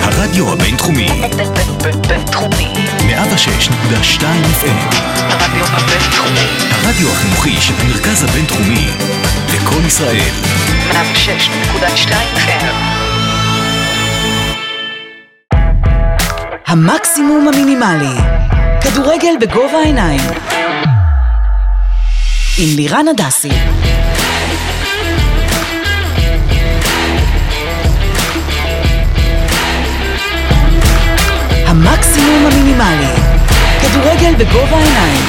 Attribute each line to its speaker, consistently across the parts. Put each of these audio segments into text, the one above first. Speaker 1: הרדיו הבינתחומי,
Speaker 2: בינתחומי.
Speaker 1: 106.2 FM,
Speaker 2: הרדיו הבינתחומי.
Speaker 1: הרדיו החינוכי של המרכז הבינתחומי, לקום ישראל,
Speaker 2: 106.2 FM.
Speaker 3: המקסימום המינימלי. כדורגל בגובה העיניים. עם לירן הדסי. המקסימום המינימלי. כדורגל בגובה העיניים.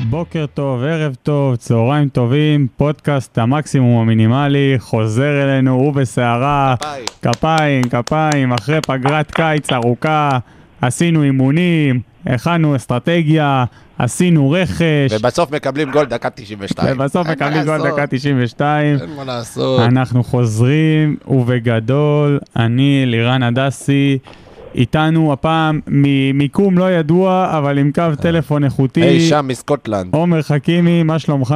Speaker 4: בוקר טוב, ערב טוב, צהריים טובים, פודקאסט המקסימום המינימלי, חוזר אלינו, הוא בסערה, כפיים, כפיים, אחרי פגרת קיץ ארוכה, עשינו אימונים, הכנו אסטרטגיה, עשינו רכש,
Speaker 5: ובסוף מקבלים גול דקה 92.
Speaker 4: ובסוף
Speaker 5: אין מה
Speaker 4: מקבלים גול
Speaker 5: לעשות,
Speaker 4: דקה 92.
Speaker 5: אין מה לעשות.
Speaker 4: אנחנו חוזרים, ובגדול, אני לירן הדסי. איתנו הפעם ממיקום לא ידוע, אבל עם קו טלפון איכותי.
Speaker 5: היי, שם מסקוטלנד.
Speaker 4: עומר חכימי, מה שלומך?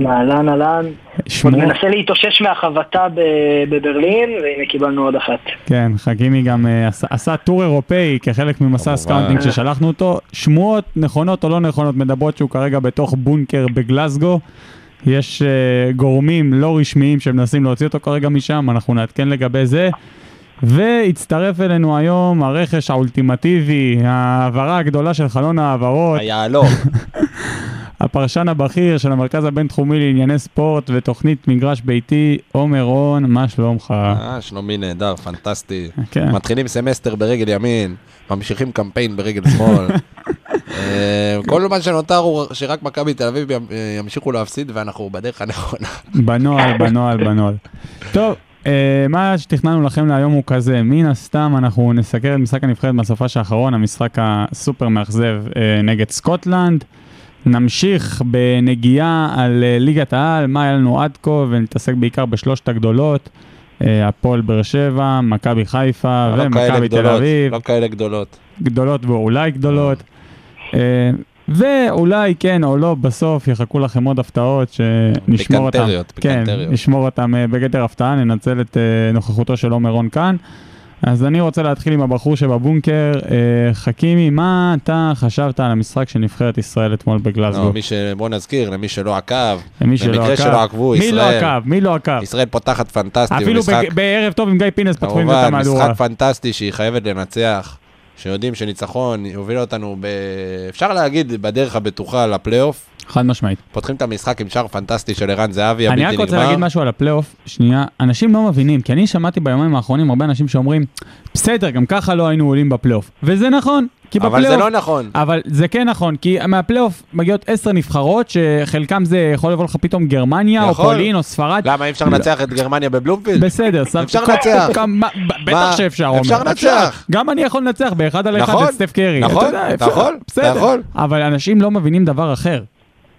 Speaker 6: אהלן, אהלן. עוד
Speaker 4: שמור...
Speaker 6: מנסה להתאושש מהחבטה ב- בברלין, והנה קיבלנו עוד אחת.
Speaker 4: כן, חכימי גם אה, עשה, עשה טור אירופאי כחלק ממסע
Speaker 5: כמובן.
Speaker 4: סקאונטינג ששלחנו אותו. שמועות נכונות או לא נכונות מדברות שהוא כרגע בתוך בונקר בגלסגו. יש אה, גורמים לא רשמיים שמנסים להוציא אותו כרגע משם, אנחנו נעדכן לגבי זה. והצטרף אלינו היום הרכש האולטימטיבי, ההעברה הגדולה של חלון ההעברות.
Speaker 5: היהלום.
Speaker 4: הפרשן הבכיר של המרכז הבינתחומי לענייני ספורט ותוכנית מגרש ביתי, עומר רון, מה שלומך?
Speaker 5: אה, שלומי נהדר, פנטסטי.
Speaker 4: כן.
Speaker 5: מתחילים סמסטר ברגל ימין, ממשיכים קמפיין ברגל שמאל. אה, כל מה שנותר הוא שרק מכבי תל אביב ימ- אה, ימשיכו להפסיד ואנחנו בדרך הנכונה.
Speaker 4: בנוהל, בנוהל, בנוהל. טוב, אה, מה שתכננו לכם להיום הוא כזה, מן הסתם אנחנו נסקר את משחק הנבחרת בסופש האחרון, המשחק הסופר מאכזב אה, נגד סקוטלנד. נמשיך בנגיעה על אה, ליגת העל, מה היה לנו עד כה, ונתעסק בעיקר בשלושת הגדולות, אה, הפועל באר שבע, מכבי חיפה
Speaker 5: לא כאלה
Speaker 4: ומכבי תל
Speaker 5: גדולות,
Speaker 4: אביב.
Speaker 5: לא כאלה גדולות.
Speaker 4: גדולות ואולי גדולות. אה, ואולי כן או לא, בסוף יחכו לכם עוד הפתעות שנשמור אותן.
Speaker 5: פיקנטריות, פיקנטריות.
Speaker 4: כן, נשמור אותן אה, בגדר הפתעה, ננצל את אה, נוכחותו של עומר רון כאן. אז אני רוצה להתחיל עם הבחור שבבונקר. אה, חכימי, מה אתה חשבת על המשחק של נבחרת ישראל אתמול
Speaker 5: לא,
Speaker 4: בגלזגו?
Speaker 5: מי ש... בוא נזכיר למי שלא עקב,
Speaker 4: למי שלא
Speaker 5: במקרה
Speaker 4: עקב.
Speaker 5: שלא עקבו,
Speaker 4: מי לא
Speaker 5: ישראל-
Speaker 4: עקב? מי לא עקב?
Speaker 5: ישראל פותחת פנטסטי.
Speaker 4: אפילו
Speaker 5: במשחק-
Speaker 4: בג- בערב טוב עם גיא פינס פתחו עם זה את
Speaker 5: כמובן,
Speaker 4: המהדורה.
Speaker 5: משחק פנטסטי שהיא חייבת לנצח, שיודעים שניצחון יוביל אותנו, ב... אפשר להגיד, בדרך הבטוחה לפלייאוף.
Speaker 4: חד משמעית.
Speaker 5: פותחים את המשחק עם שער פנטסטי של ערן זהבי, הבלתי
Speaker 4: אני
Speaker 5: נגמר.
Speaker 4: רק רוצה להגיד משהו על הפלייאוף, שנייה, אנשים לא מבינים, כי אני שמעתי ביומיים האחרונים הרבה אנשים שאומרים, בסדר, גם ככה לא היינו עולים בפלייאוף. וזה נכון, כי
Speaker 5: אבל זה
Speaker 4: בפלייאוף...
Speaker 5: לא נכון.
Speaker 4: אבל זה כן נכון, כי מהפלייאוף מגיעות עשר נבחרות, שחלקם זה יכול לבוא לך פתאום גרמניה, או
Speaker 5: יכול.
Speaker 4: פולין, או ספרד.
Speaker 5: למה אי אפשר לנצח את גרמניה בבלומפילד?
Speaker 4: בסדר, סב-
Speaker 5: אפשר
Speaker 4: כל-
Speaker 5: לנצח.
Speaker 4: כמה- ב- בטח
Speaker 5: מה?
Speaker 4: שאפשר, עומר.
Speaker 5: אפשר לנצח.
Speaker 4: גם אני יכול לנצח באחד על אחד
Speaker 5: נכון,
Speaker 4: את סטף קרי.
Speaker 5: נכון,
Speaker 4: אתה יודע,
Speaker 5: אתה
Speaker 4: אפשר,
Speaker 5: יכול, אתה
Speaker 4: בסדר.
Speaker 5: יכול.
Speaker 4: אבל אנשים לא מבינים דבר אחר,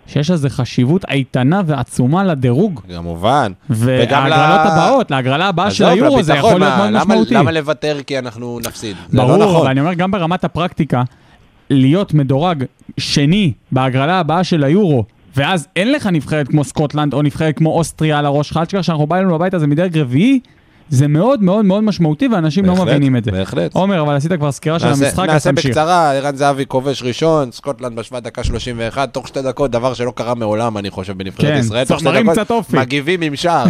Speaker 4: שיש לזה חשיבות איתנה ועצומה לדירוג.
Speaker 5: כמובן. וגם ל-
Speaker 4: וההגרלות הבאות, להגרלה הבאה של
Speaker 5: עזוב,
Speaker 4: היורו, זה יכול
Speaker 5: לביטחון,
Speaker 4: להיות
Speaker 5: מה-
Speaker 4: מאוד
Speaker 5: למה-
Speaker 4: משמעותי.
Speaker 5: למה לוותר כי אנחנו נפסיד? זה לא
Speaker 4: ברור,
Speaker 5: נכון.
Speaker 4: אבל אני אומר, גם ברמת הפרקטיקה, להיות מדורג שני בהגרלה הבאה של היורו, ואז אין לך נבחרת כמו סקוטלנד או נבחרת כמו אוסטריה על הראש שלך, אל תשכח שאנחנו באים לנו לבית הזה מדרג רביעי, זה מאוד מאוד מאוד משמעותי, ואנשים לא
Speaker 5: בהחלט,
Speaker 4: מבינים את זה.
Speaker 5: בהחלט.
Speaker 4: עומר, אבל עשית כבר סקירה של
Speaker 5: נעשה-
Speaker 4: המשחק, אז
Speaker 5: נעשה
Speaker 4: תמשיך.
Speaker 5: בקצרה, ערן זהבי כובש ראשון, סקוטלנד בשווה דקה 31, תוך שתי דקות, דבר שלא קרה מעולם, אני חושב,
Speaker 4: כן,
Speaker 5: בנבחרת ישראל. תוך
Speaker 4: צריך
Speaker 5: שתי
Speaker 4: מראים
Speaker 5: דקות,
Speaker 4: קצת אופי.
Speaker 5: מגיבים עם שער,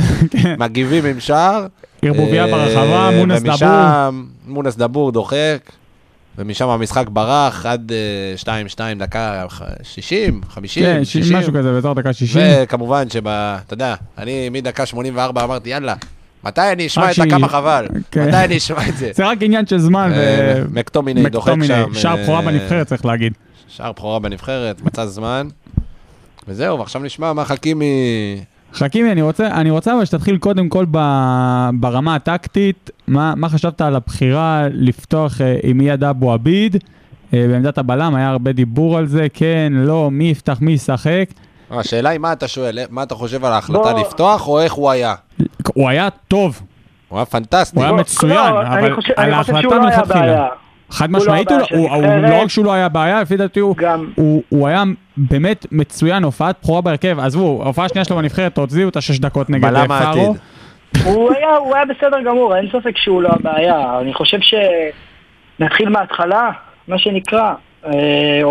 Speaker 5: מגיבים עם שער.
Speaker 4: ערבוביה
Speaker 5: אה,
Speaker 4: ברחבה, מונס
Speaker 5: ומשם מונס דבור דוחק, ומשם המשחק ברח עד אה, 2-2 דקה ח- 60, 50,
Speaker 4: כן,
Speaker 5: 60.
Speaker 4: משהו כזה, באזור דקה 60.
Speaker 5: וכמובן שב... אתה יודע, אני מדקה 84 אמרתי, יאללה, מתי אני
Speaker 4: רק
Speaker 5: אשמע את
Speaker 4: שהיא-
Speaker 5: הכמה חבל?
Speaker 4: כן.
Speaker 5: מתי אני אשמע את זה?
Speaker 4: זה רק עניין של זמן,
Speaker 5: אה,
Speaker 4: ו...
Speaker 5: מקטומיני דוחק שם.
Speaker 4: שער
Speaker 5: אה,
Speaker 4: בכורה בנבחרת, צריך להגיד.
Speaker 5: שער בכורה בנבחרת, מצא זמן. וזהו, ועכשיו נשמע מה חכימי...
Speaker 7: אה,
Speaker 4: חכימי, אני רוצה, אני רוצה אבל שתתחיל קודם כל ב, ברמה הטקטית. מה, מה חשבת על הבחירה לפתוח אה, עם איאד אבו עביד אה, בעמדת הבלם? היה הרבה דיבור על זה, כן, לא, מי יפתח, מי ישחק.
Speaker 7: השאלה היא מה אתה שואל, מה אתה חושב על ההחלטה
Speaker 6: בוא-
Speaker 7: לפתוח, או איך הוא היה?
Speaker 4: הוא היה טוב,
Speaker 7: הוא היה פנטסטי.
Speaker 4: הוא היה
Speaker 6: לא,
Speaker 4: מצוין,
Speaker 6: לא, אני
Speaker 4: אבל
Speaker 6: חושב-
Speaker 4: על
Speaker 6: אני חושב
Speaker 4: ההחלטה
Speaker 6: שהוא לא היה
Speaker 4: מלכתחילה.
Speaker 6: הבעיה.
Speaker 4: חד
Speaker 6: הוא לא
Speaker 4: משמעית, הוא
Speaker 6: הבעיה
Speaker 4: לא-
Speaker 6: של
Speaker 4: הוא- הוא-
Speaker 6: הנבחרת.
Speaker 4: לא רק שהוא לא היה בעיה, לפי דעתי הוא-
Speaker 6: גם-
Speaker 4: הוא- הוא היה באמת מצוין, הופעת בכורה בהרכב, עזבו, ההופעה השנייה שלו בנבחרת, הוציאו את השש דקות נגד
Speaker 7: בלם
Speaker 4: אה,
Speaker 7: העתיד.
Speaker 4: פארו.
Speaker 6: הוא היה, הוא היה בסדר גמור, אין ספק שהוא לא הבעיה. אני חושב שנתחיל מההתחלה, מה שנקרא. אה,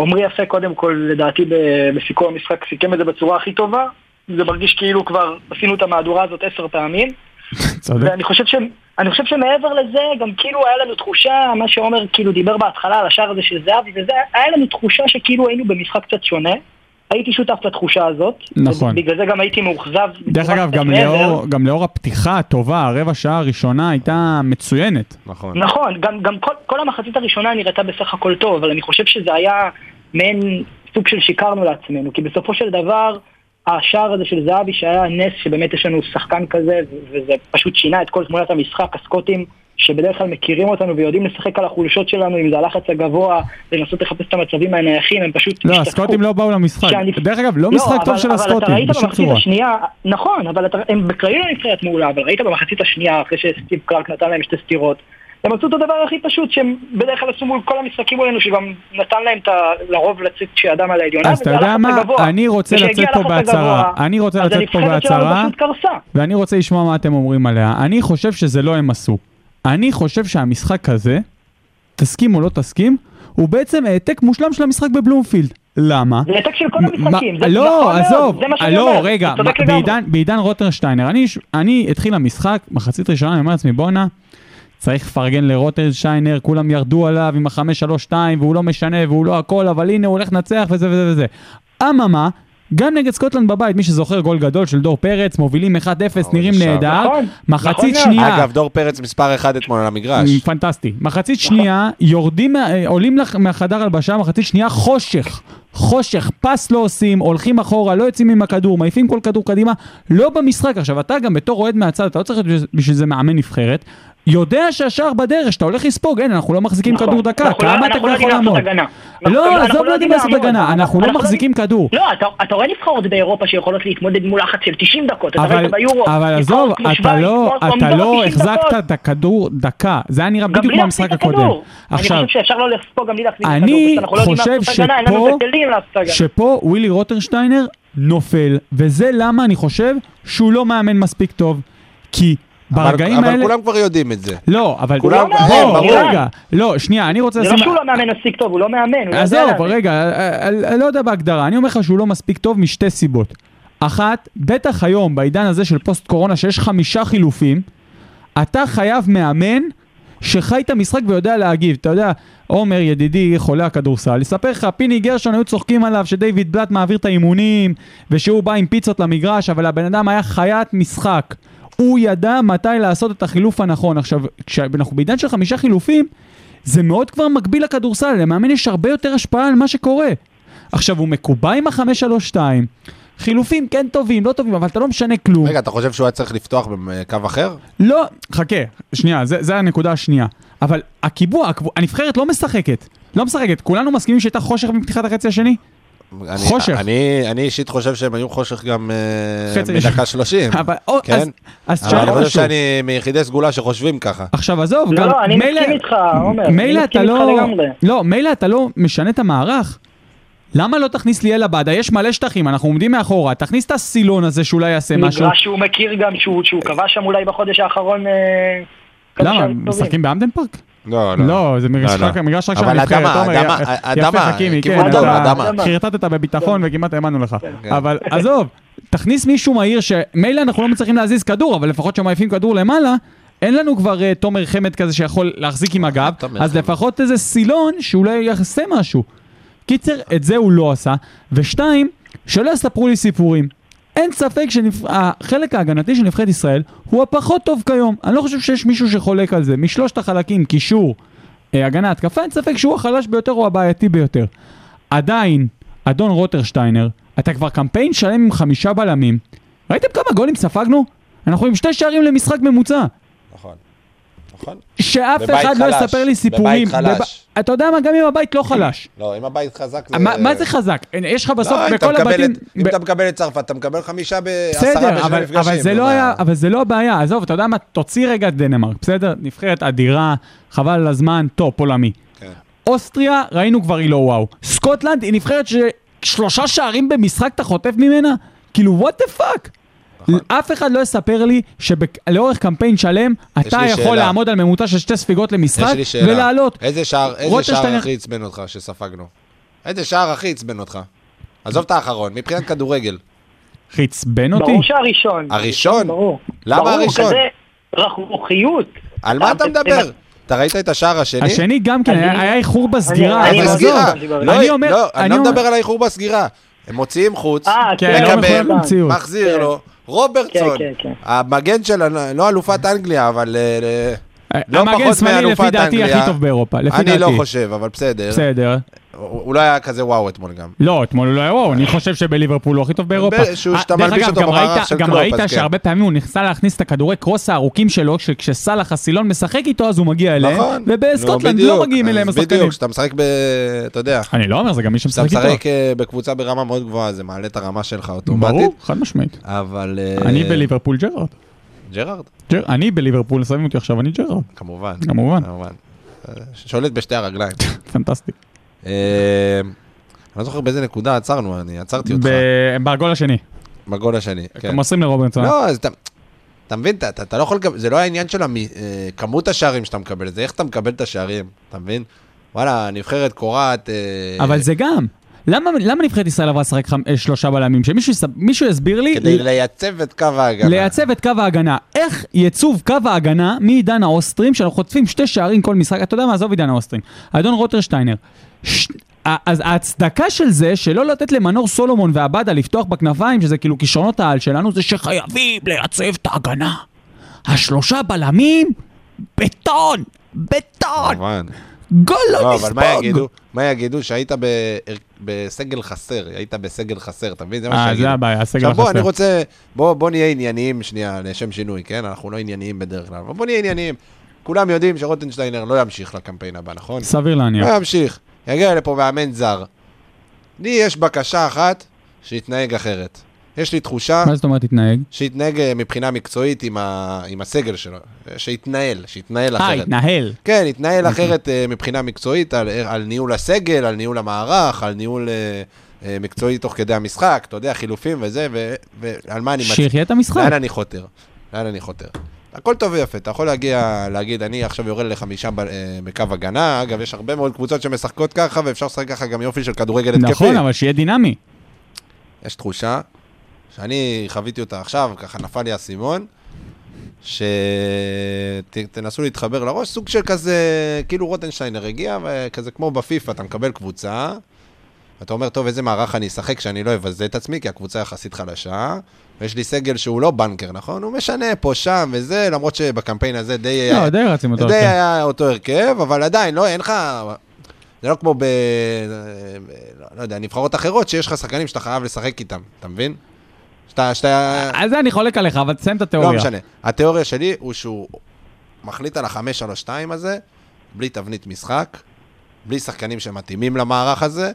Speaker 6: עמרי יפה קודם כל, לדעתי, ב- בסיכום המשחק סיכם את זה בצורה הכי טובה. זה מרגיש כאילו כבר עשינו את המהדורה הזאת עשר פעמים.
Speaker 4: צודק.
Speaker 6: ואני חושב, ש... אני חושב שמעבר לזה, גם כאילו היה לנו תחושה, מה שעומר כאילו דיבר בהתחלה על השער הזה של זהבי וזה, היה לנו תחושה שכאילו היינו במשחק קצת שונה. הייתי שותף לתחושה הזאת.
Speaker 4: נכון.
Speaker 6: בגלל זה גם הייתי מאוכזב.
Speaker 4: דרך
Speaker 6: בצורה
Speaker 4: אגב,
Speaker 6: קצת
Speaker 4: גם
Speaker 6: מעבר.
Speaker 4: לאור- גם לאור הפתיחה הטובה, הרבע שעה הראשונה הייתה מצוינת.
Speaker 7: נכון.
Speaker 6: נכון, גם, גם כל, כל המחצית הראשונה נראתה בסך הכל טוב, אבל אני חושב שזה היה מעין סוג של שיקרנו לעצמנו, כי בסופו של דבר, השער הזה של זהבי שהיה נס, שבאמת יש לנו שחקן כזה, ו- וזה פשוט שינה את כל תמונת המשחק, הסקוטים. שבדרך כלל מכירים אותנו ויודעים לשחק על החולשות שלנו, אם זה הלחץ הגבוה, לנסות לחפש את המצבים הנייחים, הם פשוט
Speaker 4: לא,
Speaker 6: השתתקו.
Speaker 4: הסקוטים לא באו למשחק.
Speaker 6: שאני-
Speaker 4: דרך אגב, לא משחק טוב
Speaker 6: אבל-
Speaker 4: של
Speaker 6: אבל אתה
Speaker 4: הסקוטים,
Speaker 6: ראית
Speaker 4: בשום
Speaker 6: במחצית
Speaker 4: צורה.
Speaker 6: השנייה, נכון, אבל אתה- הם בכללי לא נבחרת מעולה, אבל ראית במחצית השנייה, אחרי שסטיב קרק נתן להם שתי סטירות, הם עשו את הדבר הכי פשוט, שהם בדרך כלל עשו מול כל המשחקים מולנו, שגם נתן להם את ה... לרוב לצאת כשידם על העליונה,
Speaker 4: אז אתה
Speaker 6: וזה
Speaker 4: יודע
Speaker 6: הלחץ
Speaker 4: מה?
Speaker 6: הגבוה.
Speaker 4: אני רוצה
Speaker 6: וכשהגיע
Speaker 4: לצאת פה
Speaker 6: הלחץ
Speaker 4: בהצהרה.
Speaker 6: הגבוה,
Speaker 4: אני רוצה
Speaker 6: אז
Speaker 4: לצאת פה
Speaker 6: הנבחרת שלנו
Speaker 4: בהצהרה.
Speaker 6: פשוט קרסה.
Speaker 4: ואני רוצה לשמוע מה אתם אומרים עליה. אני חושב שזה לא הם עשו. אני חושב שהמשחק הזה, תסכים או לא תסכים, הוא בעצם העתק מושלם של המשחק בבלומפילד. למה?
Speaker 6: זה העתק של כל
Speaker 4: מה-
Speaker 6: המשחקים. זה נכון
Speaker 4: לא,
Speaker 6: מאוד,
Speaker 4: עזוב,
Speaker 6: זה מה שאני
Speaker 4: לא,
Speaker 6: אומר,
Speaker 4: רגע,
Speaker 6: אתה צודק
Speaker 4: מה-
Speaker 6: לגמרי.
Speaker 4: בעידן- בעידן רוטרשטיינר, אני ש- אני התחיל המשחק, מחצית ראשונה, אני אומר לעצמי, בואנה, צריך לפרגן לרוטרשטיינר, כולם ירדו עליו עם החמש, שלוש, שתיים, והוא לא משנה, והוא לא הכל, אבל הנה, הוא הולך לנצח, וזה וזה וזה. אממה, גם נגד סקוטלנד בבית, מי שזוכר, גול גדול של דור פרץ, מובילים 1-0, נראים
Speaker 7: אה, זה שם.
Speaker 4: נהדר,
Speaker 6: נכון,
Speaker 4: מחצית
Speaker 6: נכון מאוד.
Speaker 4: שנייה,
Speaker 7: אגב, דור פרץ מספר 1 אתמול על המגרש.
Speaker 4: מ, פנטסטי. מחצית שנייה, יורדים, מה- אה, עולים לח- מהחדר הלבשה, מחצית שנייה, חושך. חושך, פס לא עושים, הולכים אחורה, לא יוצאים עם הכדור, מעיפים כל כדור קדימה, לא במשחק. עכשיו, אתה גם בתור אוהד מהצד, אתה לא צריך להיות בשביל זה מאמן נבחרת, יודע שהשער בדרך, שאתה הולך לספוג, אין, אנחנו לא מחזיקים
Speaker 6: נכון.
Speaker 4: כדור דקה,
Speaker 6: אנחנו לא-
Speaker 4: כמה אתה
Speaker 6: אנחנו
Speaker 4: כבר
Speaker 6: לא
Speaker 4: יכול
Speaker 6: יודעים לעשות
Speaker 4: לעמוד?
Speaker 6: הגנה. אנחנו-
Speaker 4: לא,
Speaker 6: אנחנו
Speaker 4: עזוב, לא יודעים לעשות
Speaker 6: לעמוד.
Speaker 4: הגנה, אנחנו לא
Speaker 6: יודעים-
Speaker 4: מחזיקים כדור.
Speaker 6: לא, אתה, אתה רואה נבחרות באירופה שיכולות להתמודד מול לחץ של 90 דקות, אתה
Speaker 4: אבל,
Speaker 6: ראית ביורו.
Speaker 4: אבל
Speaker 6: נבחרות
Speaker 4: עזוב,
Speaker 6: כמו
Speaker 4: אתה
Speaker 6: שווייץ,
Speaker 4: לא,
Speaker 6: כמו-
Speaker 4: אתה
Speaker 6: עומדות
Speaker 4: לא
Speaker 6: 90
Speaker 4: החזקת
Speaker 6: דקות.
Speaker 4: את הכדור דקה, זה היה נראה
Speaker 6: גם
Speaker 4: בדיוק
Speaker 6: בלי
Speaker 4: כמו
Speaker 6: להחזיק
Speaker 4: המשחק
Speaker 6: את הכדור.
Speaker 4: הקודם.
Speaker 6: אני
Speaker 4: עכשיו,
Speaker 6: חושב שאפשר לא לספוג גם בלי להחזיק את הכדור.
Speaker 4: אני
Speaker 6: פשוט אנחנו לא יודעים
Speaker 4: חושב
Speaker 6: לעשות הגנה, אין לנו
Speaker 4: שפה-
Speaker 6: את הכלים לעשות הגנה.
Speaker 4: שפה ווילי רוטנשטיינר נופל, וזה למה אני חושב שהוא לא מאמן מספיק טוב, כי
Speaker 7: אבל-
Speaker 4: ברגעים
Speaker 7: אבל
Speaker 4: האלה...
Speaker 7: כולם כבר יודעים את זה.
Speaker 4: לא, אבל...
Speaker 7: כולם-
Speaker 4: בוא,
Speaker 7: כן, ברור.
Speaker 4: רגע, לא, שנייה, אני רוצה
Speaker 6: זה
Speaker 4: לשים...
Speaker 6: לא שהוא לא מאמן מספיק טוב, הוא לא מאמן. הוא לא יודע
Speaker 4: עזוב,
Speaker 6: להאמין.
Speaker 4: רגע, אה, אה, אה, לא יודע בהגדרה, אני אומר לך שהוא לא מספיק טוב משתי סיבות. אחת, בטח היום, בעידן הזה של פוסט קורונה, שיש חמישה חילופים, אתה חייב מאמן שחי את המשחק ויודע להגיב. אתה יודע, עומר ידידי חולה הכדורסל, יספר לך, פיני גרשון היו צוחקים עליו שדייוויד בלאט מעביר את האימונים, ושהוא בא עם פיצות למגרש, אבל הבן אדם היה חיית משחק. הוא ידע מתי לעשות את החילוף הנכון. עכשיו, כשאנחנו בעידן של חמישה חילופים, זה מאוד כבר מקביל לכדורסל, למאמן יש הרבה יותר השפעה על מה שקורה. עכשיו, הוא מקובע עם ה-532, חילופים כן טובים, לא טובים, אבל אתה לא משנה כלום.
Speaker 7: רגע, אתה חושב שהוא היה צריך לפתוח בקו אחר?
Speaker 4: לא, חכה, שנייה, זה, זה הנקודה השנייה. אבל הקיבוע, הקבוע, הנבחרת לא משחקת. לא משחקת, כולנו מסכימים שהייתה חושך מפתיחת החצי השני?
Speaker 7: אני-
Speaker 4: חושך.
Speaker 7: אני אני אישית חושב שהם היו חושך גם אה,
Speaker 4: חצי
Speaker 7: מדקה 30.
Speaker 4: אבל, או,
Speaker 7: כן.
Speaker 4: אז, אז
Speaker 7: אבל אני
Speaker 4: תשאל
Speaker 7: חושב
Speaker 4: משהו.
Speaker 7: שאני מיחידי סגולה שחושבים ככה.
Speaker 4: עכשיו עזוב,
Speaker 6: לא,
Speaker 4: גם
Speaker 6: לא, אני
Speaker 4: מילא-
Speaker 6: מסכים איתך, עומר. אני
Speaker 4: מילא אתה
Speaker 6: מסכים איתך
Speaker 4: לא...
Speaker 6: לגמרי.
Speaker 4: לא, מילא אתה לא משנה את המערך. למה לא תכניס ליאל עבדה? יש מלא שטחים, אנחנו עומדים מאחורה, תכניס את הסילון הזה שאולי יעשה משהו.
Speaker 6: מגרש שהוא מכיר גם, שהוא שהוא כבש שם אולי בחודש האחרון. אה, כמה
Speaker 4: למה?
Speaker 6: שערים טובים.
Speaker 4: לא, משחקים באמדן פארק?
Speaker 7: לא,
Speaker 4: לא, זה מגרש
Speaker 7: לא,
Speaker 4: רק-
Speaker 7: לא.
Speaker 4: מגרש רק של
Speaker 7: אבל
Speaker 4: הנבחרת.
Speaker 7: אדמה,
Speaker 4: עומר,
Speaker 7: אדמה,
Speaker 4: י- יפה
Speaker 7: אדמה,
Speaker 4: חכימי, כן,
Speaker 7: כיוון
Speaker 6: אדמה,
Speaker 4: אתה
Speaker 7: אדמה.
Speaker 4: חרטטת בביטחון וכמעט האמנו לך.
Speaker 7: כן.
Speaker 4: אבל עזוב, תכניס מישהו מהיר שמילא אנחנו לא מצליחים להזיז כדור, אבל לפחות כשמעיפים כדור למעלה, אין לנו כבר אה, תומר חמד כזה שיכול להחזיק עם הגב,
Speaker 7: אה, תומר
Speaker 4: אז
Speaker 7: חמד.
Speaker 4: לפחות איזה סילון שאולי יעשה משהו. קיצר, את זה הוא לא עשה. ושתיים, שלא יספרו לי סיפורים. אין ספק שהחלק ההגנתי של נבחרת ישראל הוא הפחות טוב כיום. אני לא חושב שיש מישהו שחולק על זה. משלושת החלקים, קישור, אה, הגנה, התקפה, אין ספק שהוא החלש ביותר או הבעייתי ביותר. עדיין, אדון רוטרשטיינר, אתה כבר קמפיין שלם עם חמישה בלמים. ראיתם כמה גולים ספגנו? אנחנו עם שתי שערים למשחק ממוצע.
Speaker 7: נכון.
Speaker 5: נכון?
Speaker 4: שאף
Speaker 5: בבית
Speaker 4: אחד לא
Speaker 5: חלש,
Speaker 4: יספר לי סיפורים.
Speaker 5: בבית חלש.
Speaker 4: בב- אתה יודע מה, גם אם הבית לא חלש.
Speaker 5: לא, אם הבית חזק זה...
Speaker 4: אה, מה מה זה חזק? יש לך בסוף,
Speaker 5: לא, אם אתה
Speaker 4: בכל
Speaker 5: מקבל
Speaker 4: הבתים...
Speaker 5: את- אם
Speaker 4: ב-
Speaker 5: אתה מקבל את צרפת, אתה מקבל חמישה בעשרה
Speaker 4: בסדר,
Speaker 5: בשני
Speaker 4: אבל,
Speaker 5: מפגשים.
Speaker 4: אבל, זה
Speaker 5: נו,
Speaker 4: לא
Speaker 5: מה?
Speaker 4: היה, אבל זה לא הבעיה, עזוב, אתה יודע מה, תוציא רגע את דנמרק, בסדר? נבחרת אדירה, חבל על הזמן, טופ עולמי.
Speaker 5: כן.
Speaker 4: אוסטריה, ראינו כבר היא לא וואו. סקוטלנד היא נבחרת ששלושה שערים במשחק אתה חוטף ממנה? כאילו, וואט דה פאק?
Speaker 5: נכון.
Speaker 4: אף אחד לא יספר לי שלאורך קמפיין שלם אתה
Speaker 5: לי
Speaker 4: יכול
Speaker 5: שאלה.
Speaker 4: לעמוד על ממוצע של שתי ספיגות
Speaker 5: יש
Speaker 4: למשחק
Speaker 5: לי שאלה.
Speaker 4: ולעלות.
Speaker 5: איזה שער, איזה
Speaker 4: רוטשטיין-
Speaker 5: שער הכי עצבן אותך שספגנו? איזה שער הכי עצבן אותך? עזוב את האחרון, מבחינת כדורגל.
Speaker 4: חצבן אותי?
Speaker 6: ברור שהראשון.
Speaker 5: הראשון?
Speaker 6: ברור.
Speaker 5: למה
Speaker 6: ברור,
Speaker 5: הראשון?
Speaker 6: כזה רכרוכיות.
Speaker 5: על
Speaker 6: אה,
Speaker 5: מה אתה מדבר? אתה ראית את השער השני?
Speaker 4: השני גם כן,
Speaker 6: אני-
Speaker 4: היה היה איחור בסגירה.
Speaker 5: אבל
Speaker 6: אני
Speaker 4: אבל
Speaker 6: לא
Speaker 5: סגירה.
Speaker 4: עזוב.
Speaker 6: דיברתי
Speaker 5: לא,
Speaker 6: על
Speaker 4: אני
Speaker 5: לא,
Speaker 4: אומר-
Speaker 5: אני
Speaker 4: אני
Speaker 5: לא
Speaker 4: אומר-
Speaker 5: מדבר על האיחור בסגירה. הם מוציאים חוץ,
Speaker 6: אה,
Speaker 4: כן,
Speaker 6: לא
Speaker 5: מקבל,
Speaker 6: מחויב
Speaker 4: למציאות.
Speaker 5: מחזיר לו, רוברטסון,
Speaker 6: כן, כן, כן.
Speaker 5: המגן של, לא אלופת אנגליה, אבל אה, אה, לא
Speaker 4: המגן
Speaker 5: פחות
Speaker 4: השמאלי לפי
Speaker 5: מאלופת
Speaker 4: דעתי
Speaker 5: אנגליה.
Speaker 4: הכי טוב באירופה, לפי דעתי.
Speaker 5: אני לא חושב, אבל בסדר.
Speaker 4: בסדר.
Speaker 5: הוא הוא לא היה כזה וואו אתמול גם.
Speaker 4: לא, אתמול הוא לא היה וואו, אני חושב שבליברפול הוא הכי טוב באירופה.
Speaker 5: שהוא-
Speaker 4: אה,
Speaker 5: שאתה
Speaker 4: דרך
Speaker 5: מלביש
Speaker 4: אגב,
Speaker 5: אותו
Speaker 4: גם
Speaker 5: במערך
Speaker 4: ראית-
Speaker 5: של
Speaker 4: גם
Speaker 5: קלופ,
Speaker 4: ראית
Speaker 5: אז כן.
Speaker 4: שהרבה פעמים הוא ניסה להכניס את הכדורי קרוס הארוכים שלו, שכשסאלח הסילון משחק איתו אז הוא מגיע אליהם,
Speaker 5: נכון.
Speaker 4: ובסקוטלנד
Speaker 5: נו, בדיוק.
Speaker 4: לא מגיעים
Speaker 5: אז
Speaker 4: אליהם השחקנים.
Speaker 5: בדיוק, כשאתה משחק ב... אתה יודע,
Speaker 4: אני לא אומר, זה גם מי
Speaker 5: כשאתה
Speaker 4: שמשחק איתו.
Speaker 5: משחק אה, בקבוצה ברמה מאוד גבוהה, זה מעלה את הרמה שלך אוטומטית.
Speaker 4: ברור, חד משמעית.
Speaker 5: אבל... אה,
Speaker 4: אני בליברפול ג'רארד.
Speaker 5: ג'רארד,
Speaker 4: ג'ר- אני בליברפול, שמים אותי עכשיו, אני ג'רארד.
Speaker 5: כמובן.
Speaker 4: כמובן,
Speaker 5: כמובן. אה, שולט בשתי הרגליים.
Speaker 4: פנטסטי.
Speaker 5: אה, אני לא זוכר באיזה נקודה עצרנו, אני עצרתי אותך.
Speaker 4: ב- בגול השני,
Speaker 5: בגול השני. כן.
Speaker 4: מוסרים לרוברטסון.
Speaker 5: לא, אז אתה... אתה מבין, אתה, אתה, אתה לא יכול לקבל, זה לא העניין של המ... אה, כמות השערים שאתה מקבל, זה איך אתה מקבל את השערים, אתה מבין? וואלה, נבחרת קורעת... אה,
Speaker 4: אבל זה גם. למה למה נבחרת ישראל עברה לשחק חמ- אה, שלושה בלמים? שמישהו יס- מישהו יסביר לי...
Speaker 5: כדי לייצב את קו ההגנה.
Speaker 4: לייצב את קו ההגנה. איך ייצוב קו ההגנה מעידן האוסטרים, שאנחנו חוטפים שתי שערים כל משחק, אתה יודע מה, עזוב עידן האוסטרים. אדון רוטרשטיינר, ש... ה- אז ההצדקה של זה, שלא לתת למנור סולומון ועבדה לפתוח בכנפיים, שזה כאילו כישרונות העל שלנו, זה שחייבים לייצב את ההגנה. השלושה בלמים, בטון! בטון!
Speaker 5: כמובן.
Speaker 4: גול לא
Speaker 5: לא, אבל מה יגידו?
Speaker 4: נספוג!
Speaker 5: מה יגידו? שהיית בהר- בסגל חסר, היית בסגל חסר, אתה מבין? זה מה
Speaker 4: אה,
Speaker 5: שיגידו.
Speaker 4: זה הבעיה, הסגל
Speaker 5: עכשיו בוא, אני
Speaker 4: החסר.
Speaker 5: רוצה, בוא בוא נהיה ענייניים שנייה, לשם שינוי, כן? אנחנו לא ענייניים בדרך כלל, אבל בוא נהיה ענייניים. כולם יודעים שרוטנשטיינר לא ימשיך לקמפיין הבא, נכון?
Speaker 4: סביר להניח.
Speaker 5: לא ימשיך. יגיע לפה מאמן זר. לי יש בקשה אחת, שיתנהג אחרת. יש לי תחושה
Speaker 4: מה זאת אומרת תתנהג?
Speaker 5: שיתנהג אה, מבחינה מקצועית עם, ה... עם הסגל שלו. אה, שיתנהל, שיתנהל
Speaker 4: אה,
Speaker 5: אחרת.
Speaker 4: התנהל. אוקיי.
Speaker 5: כן, התנהל אחרת אה, מבחינה מקצועית, על, אה, על ניהול הסגל, על ניהול המערך, על ניהול אה, אה, מקצועי תוך כדי המשחק, אתה יודע, חילופים וזה, ו- ועל מה אני
Speaker 4: שיחיה את
Speaker 5: לאן
Speaker 4: המשחק.
Speaker 5: אני חותר? לאן אני חותר? הכל טוב ויפה, אתה יכול להגיע, להגיד, אני עכשיו יורד לחמישה ב- אה, בקו הגנה, אגב, יש הרבה מאוד קבוצות שמשחקות ככה, ואפשר לשחק ככה גם יופי של כדורגל התקפי.
Speaker 4: נכון, אבל שיהיה דינמי.
Speaker 5: יש תחושה, שאני חוויתי אותה עכשיו, ככה נפל לי האסימון, שתנסו להתחבר לראש, סוג של כזה, כאילו רוטנשיינר הגיע, וכזה כמו בפיפא, אתה מקבל קבוצה, אתה אומר, טוב, איזה מערך אני אשחק שאני לא אבזה את עצמי, כי הקבוצה יחסית חלשה, ויש לי סגל שהוא לא בנקר, נכון? הוא משנה פה, שם וזה, למרות שבקמפיין הזה די... היה-
Speaker 4: לא, די רצים אותו.
Speaker 5: זה
Speaker 4: עכשיו.
Speaker 5: היה אותו הרכב, אבל עדיין, לא, אין לך... זה לא כמו ב... לא- לא יודע, נבחרות אחרות, שיש לך שחקנים שאתה חייב לשחק איתם, אתה מבין? שאתה... שאתה...
Speaker 4: אז אני חולק עליך, אבל תסיים את התיאוריה.
Speaker 5: אה, לא משנה. התיאוריה שלי הוא שהוא מחליט על החמש, שלוש, שתיים הזה, בלי תבנית משחק, בלי שחקנים שמתאימים למערך הזה.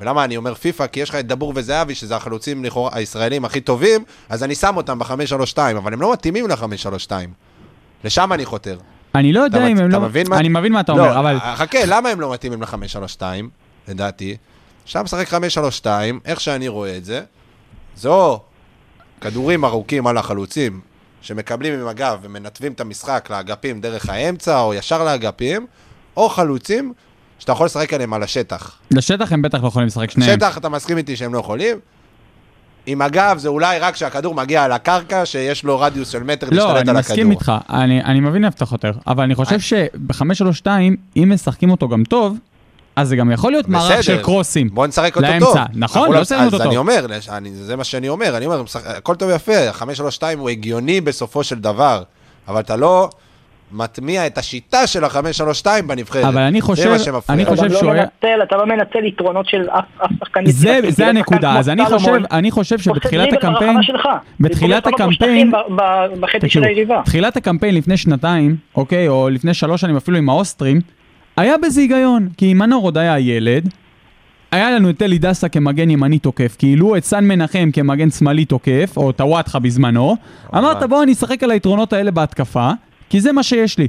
Speaker 5: ולמה אני אומר פיפא? כי יש לך את דבור וזהבי, שזה החלוצים לכאורה הישראלים הכי טובים, אז אני שם אותם בחמש, שלוש, שתיים, אבל הם לא מתאימים לחמש, שלוש, שתיים. לשם אני חותר.
Speaker 4: אני לא יודע
Speaker 5: אתה
Speaker 4: אם
Speaker 5: מצ-
Speaker 4: הם
Speaker 5: אתה
Speaker 4: לא...
Speaker 5: מבין מה-
Speaker 4: אני מבין מה אתה
Speaker 5: לא,
Speaker 4: אומר, אבל...
Speaker 5: חכה, למה הם לא מתאימים ל-532, לדעתי? שם משחק 532, איך שאני רואה את זה, זו כדורים ארוכים על החלוצים, שמקבלים עם הגב ומנתבים את המשחק לאגפים דרך האמצע, או ישר לאגפים, או חלוצים שאתה יכול לשחק עליהם על השטח.
Speaker 4: לשטח הם בטח לא יכולים לשחק שניהם.
Speaker 5: שטח, אתה מסכים איתי שהם לא יכולים? עם הגב זה אולי רק כשהכדור מגיע על הקרקע, שיש לו רדיוס של מטר להשתלט על
Speaker 4: לא,
Speaker 5: הכדור. אה.
Speaker 4: אני מסכים איתך, אני אני מבין איפה אתה חותר, אבל אני חושב שב-532, אם משחקים אותו גם טוב, אז זה גם יכול להיות מערך
Speaker 5: בסדר.
Speaker 4: של קרוסים.
Speaker 5: בוא נשחק אותו
Speaker 4: לאמצע.
Speaker 5: טוב.
Speaker 4: נכון,
Speaker 5: אנחנו
Speaker 4: לא שמים אותו
Speaker 5: אז אני
Speaker 4: טוב.
Speaker 5: אומר, לש- אני- זה מה שאני אומר, אני אומר, משחק- הכל טוב ויפה, 532 הוא הגיוני בסופו של דבר, אבל אתה לא מטמיע את השיטה של ה-5-3-2 בנבחרת.
Speaker 4: אבל אני
Speaker 5: זה
Speaker 4: חושב,
Speaker 5: מה שמפריע.
Speaker 4: אני
Speaker 6: אתה
Speaker 4: חושב
Speaker 6: גם
Speaker 4: שהוא
Speaker 6: לא
Speaker 4: היה...
Speaker 6: מנצל, אתה לא מנצל יתרונות של אף אף שחקן.
Speaker 4: זה,
Speaker 6: יצירתי,
Speaker 4: זה
Speaker 6: כאילו,
Speaker 4: הנקודה,
Speaker 6: שחקן
Speaker 4: אז
Speaker 6: כמו
Speaker 4: אני חושב,
Speaker 6: סלומון,
Speaker 4: אני חושב שבתחילת
Speaker 6: דריבל ברחבה
Speaker 4: הקמפיין,
Speaker 6: שלך.
Speaker 4: בתחילת
Speaker 6: ופוגש כמה
Speaker 4: הקמפיין,
Speaker 6: מושלכים ב- ב- בחצי של
Speaker 4: תקשיבו,
Speaker 6: היריבה.
Speaker 4: תחילת הקמפיין לפני שנתיים, אוקיי, או לפני שלוש שנים אפילו עם האוסטרים, היה בזה היגיון, כי מנור עוד היה ילד, היה לנו את אלי דסה כמגן ימני תוקף, כאילו את סן מנחם כמגן שמאלי תוקף, או טוואטחה בזמנו,
Speaker 5: אוקיי.
Speaker 4: אמרת בוא אני אשחק על היתרונות האלה בהתקפה, כי זה מה שיש לי.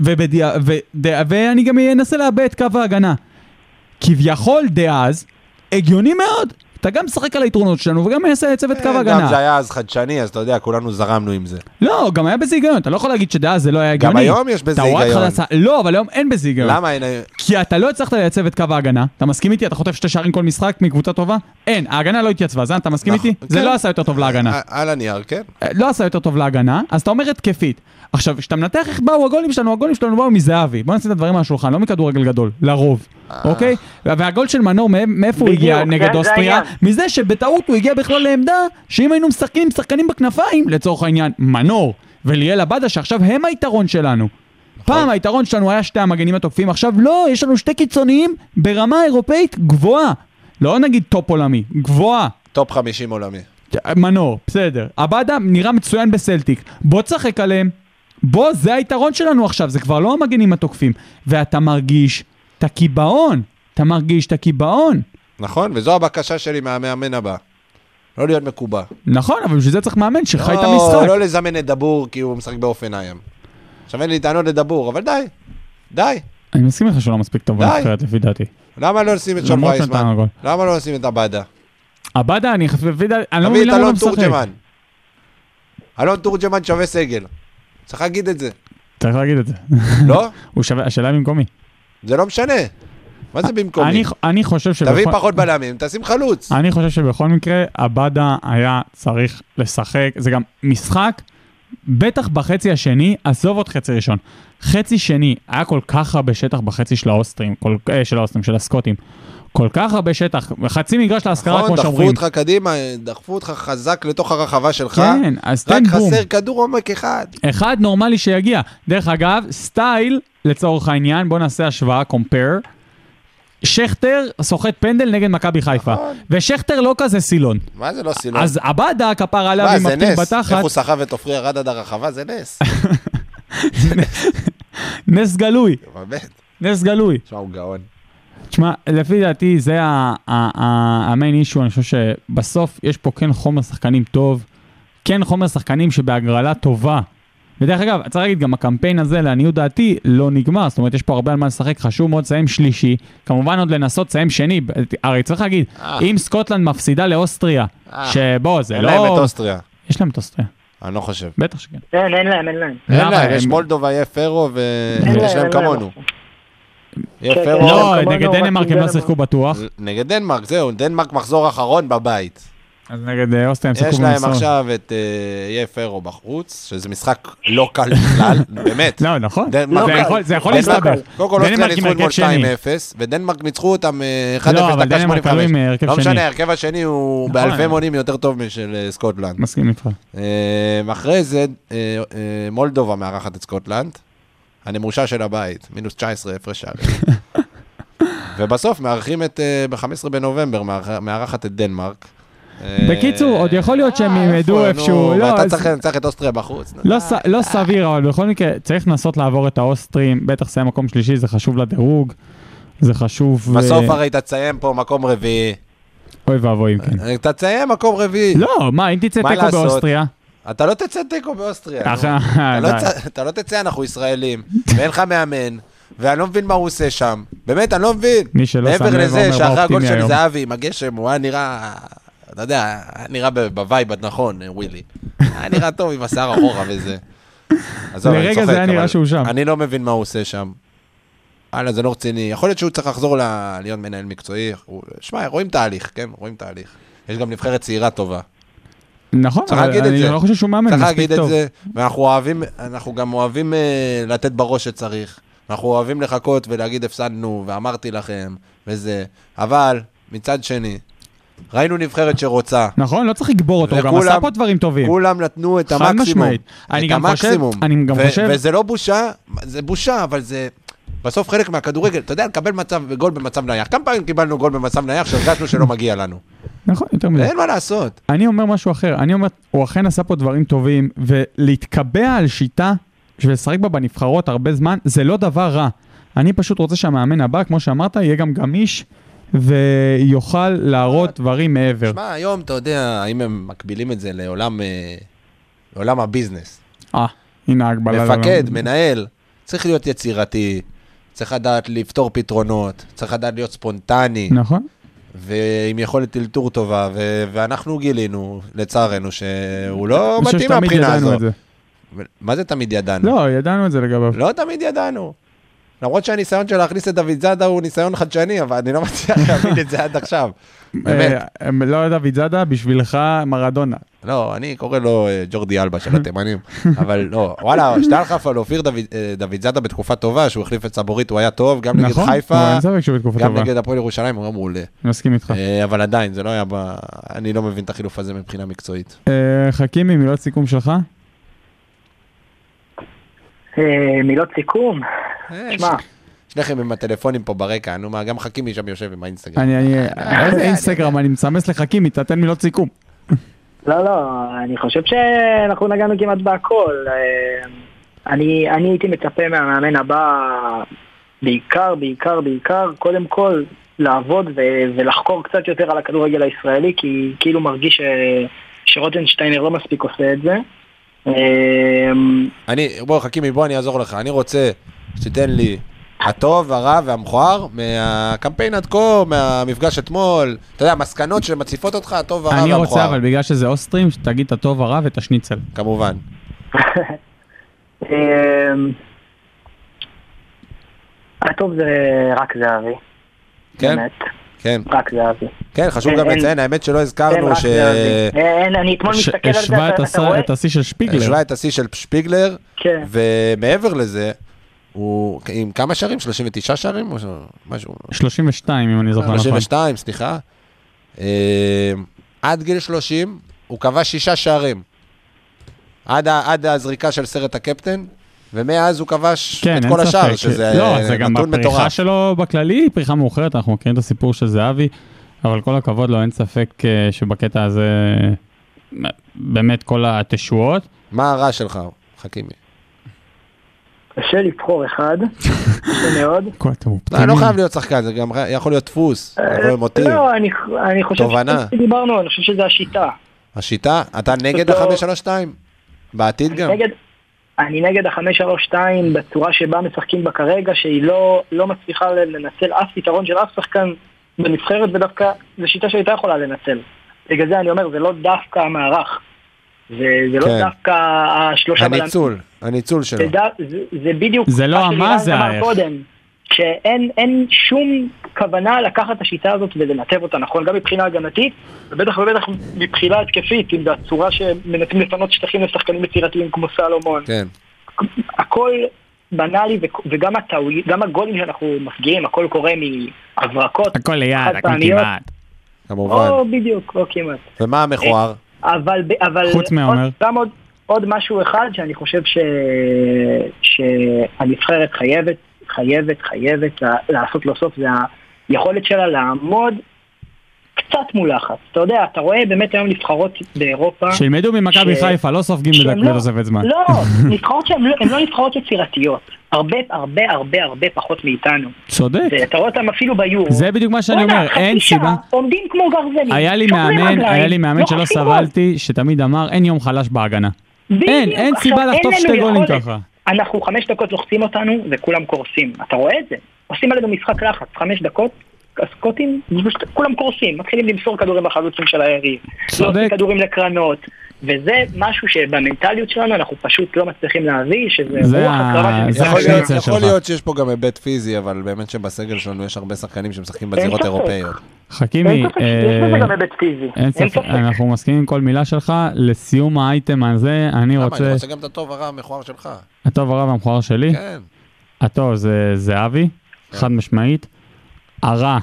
Speaker 4: ובדיע... ו... ד... ואני גם אנסה לאבד את קו ההגנה. כביכול דאז, הגיוני מאוד. אתה גם משחק על היתרונות שלנו וגם מנסה לייצב את קו
Speaker 5: כן,
Speaker 4: ההגנה.
Speaker 5: גם זה היה אז חדשני, אז אתה יודע, כולנו זרמנו עם זה.
Speaker 4: לא, גם היה בזה היגיון, אתה לא יכול להגיד שדאז זה לא היה
Speaker 5: גם
Speaker 4: הגיוני.
Speaker 5: היום יש בזה
Speaker 4: אתה וואט
Speaker 5: היגיון.
Speaker 4: חדש- לא, אבל היום אין בזה היגיון.
Speaker 5: למה אין...
Speaker 4: כי אתה לא הצלחת לייצב את קו ההגנה, אתה מסכים איתי? אתה חוטף שתי שערים כל משחק מקבוצה טובה? אין, ההגנה לא התייצבה, זן, אתה מסכים
Speaker 5: נכון,
Speaker 4: איתי? זה
Speaker 5: כן.
Speaker 4: לא עשה יותר טוב להגנה.
Speaker 5: אה, על הנייר, כן.
Speaker 4: אה, לא עשה יותר טוב להגנה, אז אתה אומר התקפית. עכשיו, כשאתה מנתח איך באו הגולים שלנו, הגולים שלנו באו מזהבי. בוא נשים את הדברים על השולחן, לא מכדורגל גדול, לרוב, אוקיי? וה- והגול של מנור, מאי- מאיפה הוא הגיע
Speaker 6: אה. בדיוק,
Speaker 4: נגד
Speaker 6: זה- זה
Speaker 4: אוסטריה?
Speaker 6: העניין.
Speaker 4: מזה שבטעות הוא הגיע בכלל לעמדה שאם היינו משחקים עם שחקנים בכנפיים, לצורך העניין, מנור וליאל עבדה, שעכשיו הם היתרון שלנו.
Speaker 6: נכון.
Speaker 4: פעם היתרון שלנו היה שתי המגנים התוקפים, עכשיו לא, יש לנו שתי קיצוניים ברמה אירופאית גבוהה. לא נגיד טופ עולמי, גבוהה.
Speaker 5: טופ 50 עולמי.
Speaker 4: מנור, בסדר. עבדה נראה מצוין בסלטיק. בוא תשחק עליהם. בוא, זה היתרון שלנו עכשיו, זה כבר לא המגנים התוקפים. ואתה מרגיש את הקיבעון. אתה מרגיש את הקיבעון.
Speaker 5: נכון? וזו הבקשה שלי מהמאמן הבא. לא להיות מקובע.
Speaker 4: נכון, אבל בשביל זה צריך מאמן שחי את
Speaker 5: לא-
Speaker 4: המשחק.
Speaker 5: לא לזמן את דבור כי הוא משחק באופניים. עכשיו אין לי טענות לדבור, אבל די. די.
Speaker 4: אני מסכים איתך שהוא לא מספיק טוב
Speaker 5: די.
Speaker 4: בנבחרת לפי דעתי.
Speaker 5: למה לא לשים את שון
Speaker 4: למרות שנתן
Speaker 5: וייסמן?
Speaker 4: הגול.
Speaker 5: למה לא לשים את עבדה?
Speaker 4: עבדה, אני חושב, לפי דעתי, אני לא
Speaker 5: תביא
Speaker 4: מבין
Speaker 5: את
Speaker 4: למה הוא לא
Speaker 5: אלון
Speaker 4: משחק.
Speaker 5: תורג'מן. אלון תורג'מן שווה סגל. צריך להגיד את זה.
Speaker 4: צריך להגיד את זה.
Speaker 5: לא?
Speaker 4: הוא שווה, השאלה במקומי.
Speaker 5: זה לא משנה. מה זה במקומי?
Speaker 4: אה, אני, אני חושב
Speaker 5: תביא
Speaker 4: שבכל...
Speaker 5: פחות בלמים, תשים חלוץ.
Speaker 4: אני חושב שבכל מקרה, עבדה היה צריך לשחק, זה גם משחק, בטח בחצי השני, עזוב עוד חצי ראשון. חצי שני, היה כל כך הרבה שטח בחצי של האוסטרים, כל, אה, של האוסטרים, של הסקוטים. כל כך הרבה שטח, חצי מגרש להשכרה,
Speaker 5: נכון,
Speaker 4: כמו
Speaker 5: דחפו
Speaker 4: שאומרים.
Speaker 5: אותך קדימה, דחפו אותך חזק לתוך הרחבה שלך.
Speaker 4: כן, אז תן
Speaker 5: רק
Speaker 4: בום.
Speaker 5: חסר כדור עומק אחד.
Speaker 4: אחד נורמלי שיגיע. דרך אגב, סטייל, לצורך העניין, בוא נעשה השוואה, קומפייר. שכטר סוחט פנדל נגד מכבי חיפה,
Speaker 5: נכון.
Speaker 4: ושכטר לא כזה סילון.
Speaker 5: מה זה לא סילון?
Speaker 4: אז עבדה כפר עליו
Speaker 5: מה,
Speaker 4: עם
Speaker 5: זה
Speaker 4: מפתיע
Speaker 5: נס. איך
Speaker 4: בתחת,
Speaker 5: הוא סחב את עופרי ארד עד הרחבה? זה נס.
Speaker 4: נס גלוי,
Speaker 5: באמת.
Speaker 4: נס גלוי.
Speaker 5: תשמע, הוא גאון.
Speaker 4: תשמע, לפי דעתי זה המיין אישו, אני חושב שבסוף יש פה כן חומר שחקנים טוב, כן חומר שחקנים שבהגרלה טובה. ודרך אגב, צריך להגיד, גם הקמפיין הזה, לעניות דעתי, לא נגמר. זאת אומרת, יש פה הרבה על מה לשחק, חשוב מאוד לסיים שלישי. כמובן עוד לנסות לסיים שני, הרי צריך להגיד, אם סקוטלנד מפסידה לאוסטריה, שבוא, זה
Speaker 5: אה. אין להם את
Speaker 4: לא...
Speaker 5: אוסטריה.
Speaker 4: יש להם את אוסטריה,
Speaker 5: אני לא חושב.
Speaker 4: בטח שכן.
Speaker 6: אין, אין להם, אין להם.
Speaker 5: אין
Speaker 4: למה?
Speaker 5: להם, יש
Speaker 4: הם-
Speaker 5: מולדובה, יהיה פרו,
Speaker 6: אין
Speaker 5: ויש להם
Speaker 6: אין
Speaker 5: כמונו. יהיה
Speaker 6: כן,
Speaker 5: פרו.
Speaker 6: כן.
Speaker 4: לא,
Speaker 6: כמונו,
Speaker 4: נגד
Speaker 6: רק
Speaker 4: דנמרק הם לא
Speaker 6: דנמרק.
Speaker 4: שיחקו בטוח,
Speaker 5: נגד דנמרק, זהו, דנמרק מחזור אחרון בבית.
Speaker 4: אז נגד אה, אוסטריה הם שיחקו
Speaker 5: יש להם
Speaker 4: במסור.
Speaker 5: עכשיו את אה, יהיה פרו בחוץ, שזה משחק לא קל בכלל, באמת.
Speaker 4: לא, נכון.
Speaker 5: דנמרק-
Speaker 4: זה יכול- זה יכול
Speaker 5: דנמרק-
Speaker 4: להסתבך.
Speaker 5: קודם כל אוסטריה
Speaker 4: דנמרק עם
Speaker 5: ניצחו
Speaker 4: הרכב
Speaker 5: אתמול
Speaker 4: שני.
Speaker 5: 2-0, ודנמרק ניצחו אותם אה, 1-0
Speaker 4: לא, אבל
Speaker 5: דקה
Speaker 4: דנמרק עלו
Speaker 5: 85.
Speaker 4: עם הרכב
Speaker 5: לא
Speaker 4: שני.
Speaker 5: משנה, ההרכב השני הוא
Speaker 4: נכון.
Speaker 5: באלפי מונים יותר טוב משל אה, סקוטלנד.
Speaker 4: מסכים איתך.
Speaker 5: אה, אחרי זה, אה, אה, מולדובה מארחת את סקוטלנד, הנמושה של הבית, מינוס 19 הפרש שערים. ובסוף מארחים את, ב-15 בנובמבר, מארח- מארחת את דנמרק. אה,
Speaker 4: בקיצור, עוד יכול להיות שהם
Speaker 5: אה,
Speaker 4: ילמדו
Speaker 5: איפה,
Speaker 4: איפשהו,
Speaker 5: נו,
Speaker 4: לא,
Speaker 5: ואתה
Speaker 4: אז-
Speaker 5: צריך- צריך את אוסטריה בחוץ. נו.
Speaker 4: לא, ס, לא סביר, אבל בכל מקרה, צריך לנסות לעבור את האוסטרים, בטח לסיים מקום שלישי, זה חשוב לדירוג, זה חשוב...
Speaker 5: בסוף
Speaker 4: אה,
Speaker 5: הרי תסיים פה מקום רביעי.
Speaker 4: אוי ואבוי, אם כן.
Speaker 5: תסיים מקום רביעי.
Speaker 4: לא, מה, אם תצא
Speaker 5: מה
Speaker 4: תיקו
Speaker 5: לעשות?
Speaker 4: באוסטריה? אה,
Speaker 5: אתה לא תצא תיקו באוסטריה. נו.
Speaker 4: אחרי...
Speaker 5: אתה לא צ- אתה לא תצא, אנחנו ישראלים, ואין לך מאמן, ואני לא מבין מה הוא עושה שם. באמת, אני לא מבין.
Speaker 4: מי שלא שם לב,
Speaker 5: מעבר
Speaker 4: אומר,
Speaker 5: לזה
Speaker 4: מה
Speaker 5: שאחרי הגול
Speaker 4: אופטימי
Speaker 5: של
Speaker 4: היום.
Speaker 5: זהבי עם הגשם, הוא היה נראה, אתה יודע, היה נראה ב- בווייב הנכון, אה, ווילי. היה נראה טוב עם השיער אחורה וזה. עזוב, אני
Speaker 4: לרגע
Speaker 5: צוחק,
Speaker 4: זה היה
Speaker 5: אבל
Speaker 4: נראה שהוא שם.
Speaker 5: אני לא מבין מה הוא עושה שם. וואלה, זה לא רציני. יכול להיות שהוא צריך לחזור ל- להיות מנהל מקצועי. הוא- שמע, רואים תהליך, כן? רואים תהליך. יש גם נבחרת צעירה טובה.
Speaker 4: נכון,
Speaker 5: צריך
Speaker 4: אבל
Speaker 5: להגיד את
Speaker 4: אני
Speaker 5: זה.
Speaker 4: לא חושב שהוא מאמן,
Speaker 5: צריך
Speaker 4: מספיק
Speaker 5: להגיד את
Speaker 4: טוב.
Speaker 5: זה, ואנחנו אוהבים, אנחנו גם אוהבים אה, לתת בראש שצריך. אנחנו אוהבים לחכות ולהגיד הפסדנו, ואמרתי לכם, וזה. אבל, מצד שני, ראינו נבחרת שרוצה.
Speaker 4: נכון? לא צריך לגבור אותו, הוא גם
Speaker 5: וכולם-
Speaker 4: עשה פה דברים טובים.
Speaker 5: כולם נתנו את
Speaker 4: חד
Speaker 5: המקסימום.
Speaker 4: משמעית. אני
Speaker 5: את
Speaker 4: גם חושב-
Speaker 5: המקסימום.
Speaker 4: אני גם
Speaker 5: ו-
Speaker 4: חושב-
Speaker 5: וזה לא בושה, זה בושה, אבל זה... בסוף חלק מהכדורגל, אתה יודע, לקבל מצב, גול במצב נייח. כמה פעמים קיבלנו גול במצב נייח שהרגשנו שלא מגיע לנו?
Speaker 4: נכון, יותר מזה.
Speaker 5: אין מה לעשות.
Speaker 4: אני אומר משהו אחר, אני אומר, הוא אכן עשה פה דברים טובים, ולהתקבע על שיטה ולשחק בה בנבחרות הרבה זמן, זה לא דבר רע. אני פשוט רוצה שהמאמן הבא, כמו שאמרת, יהיה גם גמיש, ויוכל להראות דברים מעבר.
Speaker 5: שמע, היום, אתה יודע, אם הם מקבילים את זה לעולם, אה, לעולם הביזנס,
Speaker 4: אה, הנה ההגבלה.
Speaker 5: מפקד,
Speaker 4: לעולם.
Speaker 5: מנהל, צריך להיות יצירתי, צריך לדעת לפתור פתרונות, צריך לדעת להיות ספונטני,
Speaker 4: נכון.
Speaker 5: ועם יכולת אלתור טובה, ו- ואנחנו גילינו, לצערנו, שהוא לא
Speaker 4: אני חושב
Speaker 5: מתאים
Speaker 4: שתמיד
Speaker 5: מהבחינה
Speaker 4: ידענו
Speaker 5: הזאת.
Speaker 4: את זה.
Speaker 5: ו- מה זה תמיד ידענו?
Speaker 4: לא, ידענו את זה לגביו.
Speaker 5: לא תמיד ידענו. למרות שהניסיון של להכניס את דוד זאדה הוא ניסיון חדשני, אבל אני לא מצליח להבין את זה עד עכשיו. באמת.
Speaker 4: אה, לא דוד זאדה, בשבילך מרדונה.
Speaker 5: לא, אני קורא לו אה, ג'ורדי אלבה של התימנים, אבל לא, וואלה, שתדע לך אבל אופיר דוד- אה, דוד זאדה בתקופה טובה, שהוא החליף את סבורית, הוא היה טוב, גם נגד
Speaker 4: נכון?
Speaker 5: חיפה,
Speaker 4: אה, אין ספק שהוא בתקופה
Speaker 5: גם
Speaker 4: טובה. כן.
Speaker 5: נגד הפועל ירושלים, הוא היה מעולה.
Speaker 4: אני מסכים איתך.
Speaker 5: אה, אבל עדיין, זה לא היה ב... אני לא מבין את החילוף הזה מבחינה מקצועית.
Speaker 4: אה, חכימי, מילות סיכום שלך?
Speaker 6: אה, מילות סיכום,
Speaker 5: אה,
Speaker 6: שמע,
Speaker 5: שניכם עם הטלפונים פה ברקע, נו מה, גם חכימי שם יושב עם
Speaker 6: כן.
Speaker 5: האינסטגרם.
Speaker 4: אני, אני,
Speaker 6: אה,
Speaker 4: איזה אינסטגרם, אני מסמס לחכימי, תתן מילות סיכום.
Speaker 6: לא, לא, אני חושב שאנחנו נגענו כמעט בהכל. אה, אני, אני הייתי מצפה מהמאמן הבא, בעיקר, בעיקר, בעיקר, קודם כל, לעבוד ו- ולחקור קצת יותר על הכדורגל הישראלי, כי כאילו מרגיש ש... שרוטנשטיינר לא מספיק עושה את זה. אה,
Speaker 5: אני, בוא חכימי, בוא אני אעזור לך, אני רוצה שתיתן לי הטוב, הרע והמכוער מהקמפיין עד כה, מהמפגש אתמול, אתה יודע, מסקנות שמציפות אותך, הטוב, הרע
Speaker 4: אני
Speaker 5: והמכוער.
Speaker 4: רוצה, אבל בגלל שזה אוסטרים, שתגיד את הטוב, הרע ואת השניצל.
Speaker 5: כמובן.
Speaker 6: אה, הטוב זה רק זהבי,
Speaker 5: כן,
Speaker 6: באמת,
Speaker 5: כן,
Speaker 6: רק זהבי.
Speaker 5: כן, חשוב
Speaker 6: אין-
Speaker 5: גם
Speaker 6: אין-
Speaker 5: לציין, האמת שלא
Speaker 6: כן,
Speaker 5: הזכרנו
Speaker 6: רק
Speaker 5: ש...
Speaker 6: זהבי. אה, אין, אני אתמול
Speaker 4: הש-
Speaker 6: מסתכל על זה,
Speaker 4: השווה
Speaker 6: אתה-
Speaker 4: את
Speaker 6: אתה
Speaker 4: השיא-
Speaker 6: רואה?
Speaker 4: את השיא של שפיגלר.
Speaker 5: השווה את השיא של שפיגלר,
Speaker 6: כן.
Speaker 5: ומעבר לזה, הוא עם כמה שערים? 39 שערים? או ש- משהו,
Speaker 4: 32, אם אני זוכר נכון.
Speaker 5: 32, סליחה. אה, עד גיל 30, הוא כבש שישה שערים. עד, ה- עד הזריקה של סרט הקפטן, ומאז הוא כבש
Speaker 4: כן,
Speaker 5: את
Speaker 4: אין
Speaker 5: כל
Speaker 4: ספק.
Speaker 5: השאר, שזה
Speaker 4: לא,
Speaker 5: אה,
Speaker 4: זה גם
Speaker 5: נתון
Speaker 4: בפריחה
Speaker 5: מטורף.
Speaker 4: שלו בכללי, פריחה מאוחרת, אנחנו מכירים את הסיפור של זהבי, אבל כל הכבוד לו, אין ספק אה, שבקטע הזה, אה, באמת כל התשואות.
Speaker 5: מה הרע שלך, חכימי?
Speaker 6: קשה לבחור אחד, קשה מאוד.
Speaker 4: כל אתם
Speaker 5: לא,
Speaker 4: אופטימיים.
Speaker 5: לא חייב להיות שחקן, זה גם ר- יכול להיות דפוס, יכול להיות מוטיב,
Speaker 6: לא, אני- אני חושב
Speaker 5: תובנה.
Speaker 6: שדיברנו, אני חושב שזה השיטה.
Speaker 5: השיטה. אתה נגד
Speaker 6: לא.
Speaker 5: ה-532? בעתיד גם?
Speaker 6: נגד- אני נגד ה-532 בצורה שבה משחקים בה כרגע, שהיא לא לא מצליחה לנצל אף יתרון של אף שחקן בנבחרת, ודווקא זו שיטה שהייתה יכולה לנצל. בגלל זה אני אומר, זה לא דווקא המערך. זה זה
Speaker 5: כן.
Speaker 6: לא דווקא השלושה בלמים.
Speaker 5: הניצול, הניצול שלו.
Speaker 6: זה ד- זה- זה בדיוק
Speaker 4: לא. זה לא
Speaker 6: מה
Speaker 4: המה,
Speaker 6: שלירן
Speaker 4: זה
Speaker 6: אמר
Speaker 4: האיך.
Speaker 6: קודם, שאין אין שום כוונה לקחת את השיטה הזאת ולנתב אותה נכון, גם מבחינה הגנתית, ובטח ובטח מבחינה התקפית, אם זו הצורה שמנסים לפנות שטחים לשחקנים יצירתיים כמו סלומון.
Speaker 5: כן.
Speaker 6: הכל בנאלי, ו- וגם הטעו, גם הגולים שאנחנו מפגיעים, הכל קורה מהברקות.
Speaker 4: הכל ליד, הכל
Speaker 6: חד-פעמיות.
Speaker 4: כמעט.
Speaker 5: כמובן.
Speaker 6: או בדיוק, או כמעט.
Speaker 5: ומה המכוער?
Speaker 6: אבל, ב- אבל
Speaker 4: חוץ מהעומר.
Speaker 6: עוד, גם עוד, עוד משהו אחד שאני חושב ש, שהנבחרת חייבת, חייבת, חייבת לה- לעשות לו סוף, זה היכולת שלה לעמוד קצת מול לחץ. אתה יודע, אתה רואה באמת היום נבחרות באירופה,
Speaker 4: שילמדו ממכבי
Speaker 6: ש-
Speaker 4: חיפה, לא סופגים
Speaker 6: שהם
Speaker 4: בדק-
Speaker 6: לא-
Speaker 4: בתוספת זמן.
Speaker 6: לא, נבחרות שהן לא, הן לא נבחרות יצירתיות, הרבה הרבה הרבה הרבה פחות מאיתנו.
Speaker 4: צודק.
Speaker 6: אתה רואה אותם אפילו ביורו.
Speaker 4: כן. זה בדיוק מה שאני
Speaker 6: בואנה,
Speaker 4: אומר,
Speaker 6: חצי
Speaker 4: אין
Speaker 6: שעה
Speaker 4: סיבה.
Speaker 6: עומדים כמו גרזנים.
Speaker 4: היה לי
Speaker 6: שוברים
Speaker 4: מאמן,
Speaker 6: רגליים,
Speaker 4: היה לי מאמן
Speaker 6: לא
Speaker 4: שלא
Speaker 6: חוטפים גול.
Speaker 4: סבלתי, שתמיד אמר אין יום חלש בהגנה.
Speaker 6: בדיוק.
Speaker 4: אין, אין
Speaker 6: עכשיו,
Speaker 4: סיבה לחטוף
Speaker 6: לנו
Speaker 4: שתי גולים
Speaker 6: יכולת.
Speaker 4: ככה.
Speaker 6: אנחנו חמש דקות לוחצים אותנו וכולם קורסים. אתה רואה את זה? עושים עלינו משחק לחץ, חמש דקות. הסקוטים, פשוט כולם קורסים, מתחילים למסור כדורים לחלוצים של היריב.
Speaker 4: צודק.
Speaker 6: לא עושים כדורים לקרנות. וזה משהו שבמנטליות שלנו אנחנו פשוט לא מצליחים להביא, שזה
Speaker 4: זה
Speaker 6: רוח
Speaker 4: ה-
Speaker 6: הקרבה
Speaker 4: זה
Speaker 5: יכול
Speaker 4: השניצל
Speaker 5: להיות-
Speaker 4: שלך.
Speaker 5: יכול להיות שיש פה גם היבט פיזי, אבל באמת שבסגל שלנו יש הרבה שחקנים שמשחקים בזירות
Speaker 6: ספק.
Speaker 5: אירופאיות.
Speaker 4: חכימי,
Speaker 6: יש בזה
Speaker 4: אה,
Speaker 6: גם היבט פיזי.
Speaker 4: אין ספק, אנחנו מסכימים עם כל מילה שלך. לסיום האייטם הזה, אני
Speaker 5: למה? אני
Speaker 4: רוצה,
Speaker 5: רוצה גם את הטוב הרע המכוער שלך.
Speaker 4: הטוב הרע והמכוער שלי,
Speaker 5: כן.
Speaker 4: הטוב זה זהבי, חד משמעית, הרע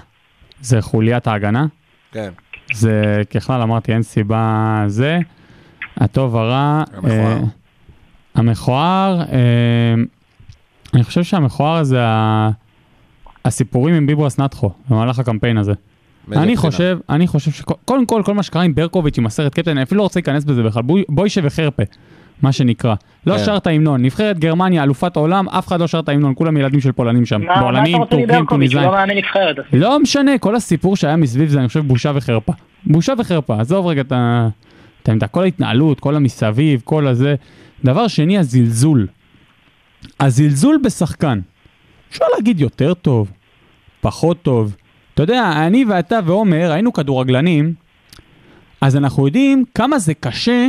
Speaker 4: זה חוליית ההגנה,
Speaker 5: כן.
Speaker 4: זה ככלל אמרתי אין סיבה זה, הטוב הרע,
Speaker 7: המכוער.
Speaker 4: אה, המכוער, אה, אני חושב שהמכוער זה ה- הסיפורים עם ביבו אסנתחו במהלך הקמפיין הזה.
Speaker 7: מאיזה
Speaker 4: אני
Speaker 7: בחינה?
Speaker 4: חושב, אני חושב שקודם כל, כל מה שקרה עם ברקוביץ' עם הסרט קפטן, אני אפילו לא רוצה להיכנס בזה בכלל, בוי- בוישה וחרפה, מה שנקרא. לא
Speaker 7: כן.
Speaker 4: שרת המנון, נבחרת גרמניה, אלופת עולם, אף אחד לא שרת המנון, כולם ילדים של פולנים שם.
Speaker 6: מה מה אתה
Speaker 4: פולנים,
Speaker 6: רוצה
Speaker 4: טורקים,
Speaker 6: מברקוביץ'? הוא
Speaker 4: טוניסאים.
Speaker 6: לא מאמן נבחרת. אז-
Speaker 4: לא משנה, כל הסיפור שהיה מסביב זה, אני חושב, בושה וחרפה. בושה וחרפה, עזוב רגע את ה... את העמדה, כל ההתנהלות, כל המסביב, כל הזה. דבר שני, הזלזול. הזלזול בשחקן. אפשר להגיד יותר טוב, פחות טוב. אתה יודע, אני ואתה ועומר היינו כדורגלנים, אז אנחנו יודעים כמה זה קשה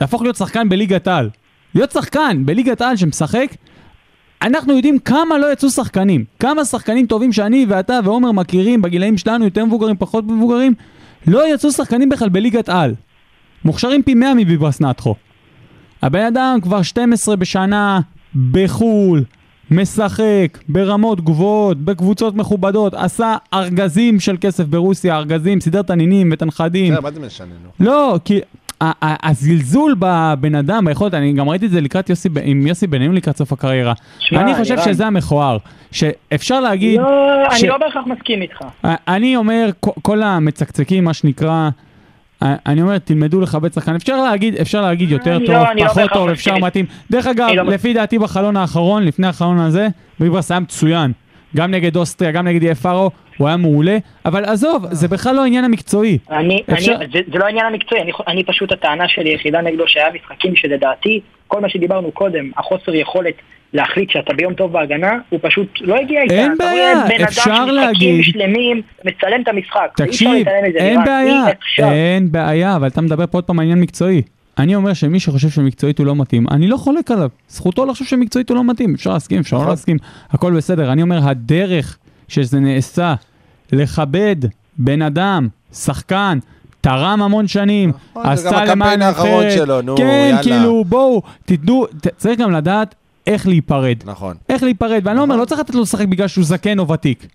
Speaker 4: להפוך להיות שחקן בליגת העל. להיות שחקן בליגת העל שמשחק, אנחנו יודעים כמה לא יצאו שחקנים. כמה שחקנים טובים שאני ואתה ועומר מכירים בגילאים שלנו, יותר מבוגרים, פחות מבוגרים, לא יצאו שחקנים בכלל בליגת על. מוכשרים פי 100 מביברס נטחו. הבן אדם כבר 12 בשנה, בחו"ל, משחק, ברמות גבוהות, בקבוצות מכובדות, עשה ארגזים של כסף ברוסיה, ארגזים, סידר תנינים ותנחדים.
Speaker 5: בסדר, מה זה משנה, נו?
Speaker 4: לא, כי ה- ה- הזלזול בבן אדם, ביכולת, אני גם ראיתי את זה לקראת יוסי, ב- עם יוסי בניון לקראת סוף הקריירה.
Speaker 6: שמע,
Speaker 4: אני חושב
Speaker 6: ערן.
Speaker 4: שזה המכוער, שאפשר להגיד,
Speaker 6: לא,
Speaker 4: ש-
Speaker 6: אני לא בהכרח מסכים איתך.
Speaker 4: א- אני אומר, כ- כל המצקצקים, מה שנקרא, א- אני אומר, תלמדו לכבד שחקן. אפשר להגיד, אפשר להגיד יותר
Speaker 6: אני לא-
Speaker 4: טוב,
Speaker 6: אני לא
Speaker 4: פחות
Speaker 6: בהכרח
Speaker 4: טוב,
Speaker 6: מסכים
Speaker 4: אפשר
Speaker 6: איתך.
Speaker 4: מתאים. דרך אגב,
Speaker 6: אני לא-
Speaker 4: לפי דעתי בחלון האחרון, לפני החלון הזה, ביברס היה מצוין. גם נגד אוסטריה, גם נגד יפארו, הוא היה מעולה, אבל
Speaker 6: אה.
Speaker 4: עזוב, זה בכלל לא העניין המקצועי.
Speaker 6: אני,
Speaker 4: אפשר-
Speaker 6: אני, זה, זה לא העניין המקצועי, אני, חו- אני פשוט הטענה שלי היחידה נגדו שהיה משחקים שלדעתי, כל מה שדיברנו קודם, החוסר יכולת להחליט שאתה ביום טוב בהגנה, הוא פשוט לא הגיע איתה.
Speaker 4: אין
Speaker 6: אתה
Speaker 4: בעיה,
Speaker 6: רואה בן
Speaker 4: אפשר
Speaker 6: אדם
Speaker 4: להגיד-
Speaker 6: משחקים שלמים, מצלם את המשחק. ואי אפשר
Speaker 4: תקשיב,
Speaker 6: להתעלם מזה,
Speaker 4: אין
Speaker 6: לירן,
Speaker 4: בעיה,
Speaker 6: אי אפשר.
Speaker 4: אין בעיה, אבל אתה מדבר פה עוד פעם על עניין מקצועי. אני אומר שמי שחושב שמקצועית הוא לא מתאים, אני לא חולק עליו. זכותו לחשוב שמקצועית הוא לא מתאים, אפשר להסכים, אפשר
Speaker 6: נכון.
Speaker 4: לא להסכים, הכל בסדר. אני אומר, הדרך שזה נעשה, לכבד בן אדם, שחקן, תרם המון שנים,
Speaker 5: נכון, זה גם
Speaker 4: עשה
Speaker 5: הקמפיין
Speaker 4: למען
Speaker 5: האחרון
Speaker 4: נבחרת.
Speaker 5: שלו, נו,
Speaker 4: כן,
Speaker 5: יאללה.
Speaker 4: כאילו, בואו, תיתנו, ת- צריך גם לדעת איך להיפרד.
Speaker 5: נכון.
Speaker 4: איך להיפרד, ואני לא אומר, לא צריך לתת לו לשחק בגלל שהוא זקן או ותיק.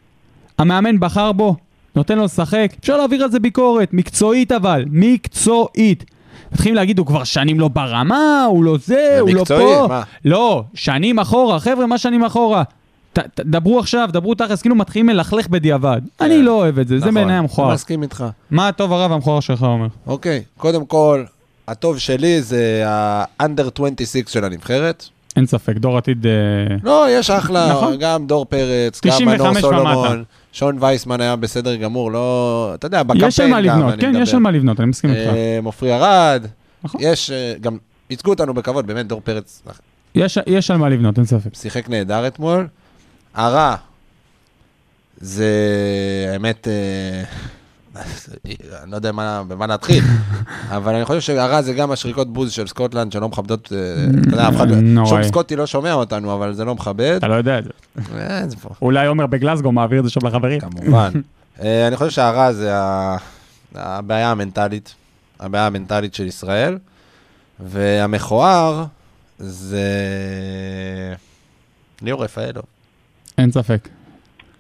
Speaker 4: המאמן בחר בו, נותן לו לשחק, אפשר להעביר על זה ביקורת, מקצועית אבל, מקצועית. מתחילים להגיד, הוא כבר שנים לא ברמה, הוא לא זה, הוא לא
Speaker 5: מקצועי,
Speaker 4: פה.
Speaker 5: מה?
Speaker 4: לא, שנים אחורה, חבר'ה, מה שנים אחורה? ת, ת, דברו עכשיו, דברו תכלס, כאילו מתחילים ללכלך בדיעבד. אני לא אוהב את זה, זה
Speaker 5: כן. נכון.
Speaker 4: בעיניי
Speaker 5: אני
Speaker 4: המכוער.
Speaker 5: מסכים איתך.
Speaker 4: מה הטוב הרע והמכוער שלך אומר?
Speaker 5: אוקיי, קודם כל, הטוב שלי זה ה-under 26 של הנבחרת.
Speaker 4: אין ספק, דור עתיד... אה,
Speaker 5: לא, יש אחלה,
Speaker 4: נכון.
Speaker 5: גם דור פרץ, גם
Speaker 4: 95
Speaker 5: מנור
Speaker 4: ומטה.
Speaker 5: סולומון, שון וייסמן היה בסדר גמור, לא, אתה יודע, בקמפיין גם,
Speaker 4: יש על מה
Speaker 5: אני מדבר.
Speaker 4: לבנות, כן, יש על מה לבנות, אני מסכים איתך.
Speaker 5: אה, מופרי ארד,
Speaker 4: נכון.
Speaker 5: יש, אה, גם ייצגו אותנו בכבוד, באמת, דור פרץ
Speaker 4: יש- יש על מה לבנות, אין ספק.
Speaker 5: שיחק נהדר אתמול. הרע, זה האמת, אה, אני לא יודע מה- במה להתחיל, אבל אני חושב שהרע זה גם השריקות בוז של סקוטלנד שלא מכבדות, אה, אתה יודע, אף אחד,
Speaker 4: נוראי.
Speaker 5: שום סקוטי לא שומע אותנו, אבל זה לא מכבד.
Speaker 4: אתה לא יודע את זה.
Speaker 5: אה, זה פה.
Speaker 4: אולי עומר בגלסגו מעביר את זה שם לחברים.
Speaker 6: כן.
Speaker 5: כמובן. אה, אני חושב שהרע זה ה- הבעיה המנטלית, הבעיה המנטלית של ישראל, והמכוער זה ליאור רפאלו,
Speaker 4: אין ספק.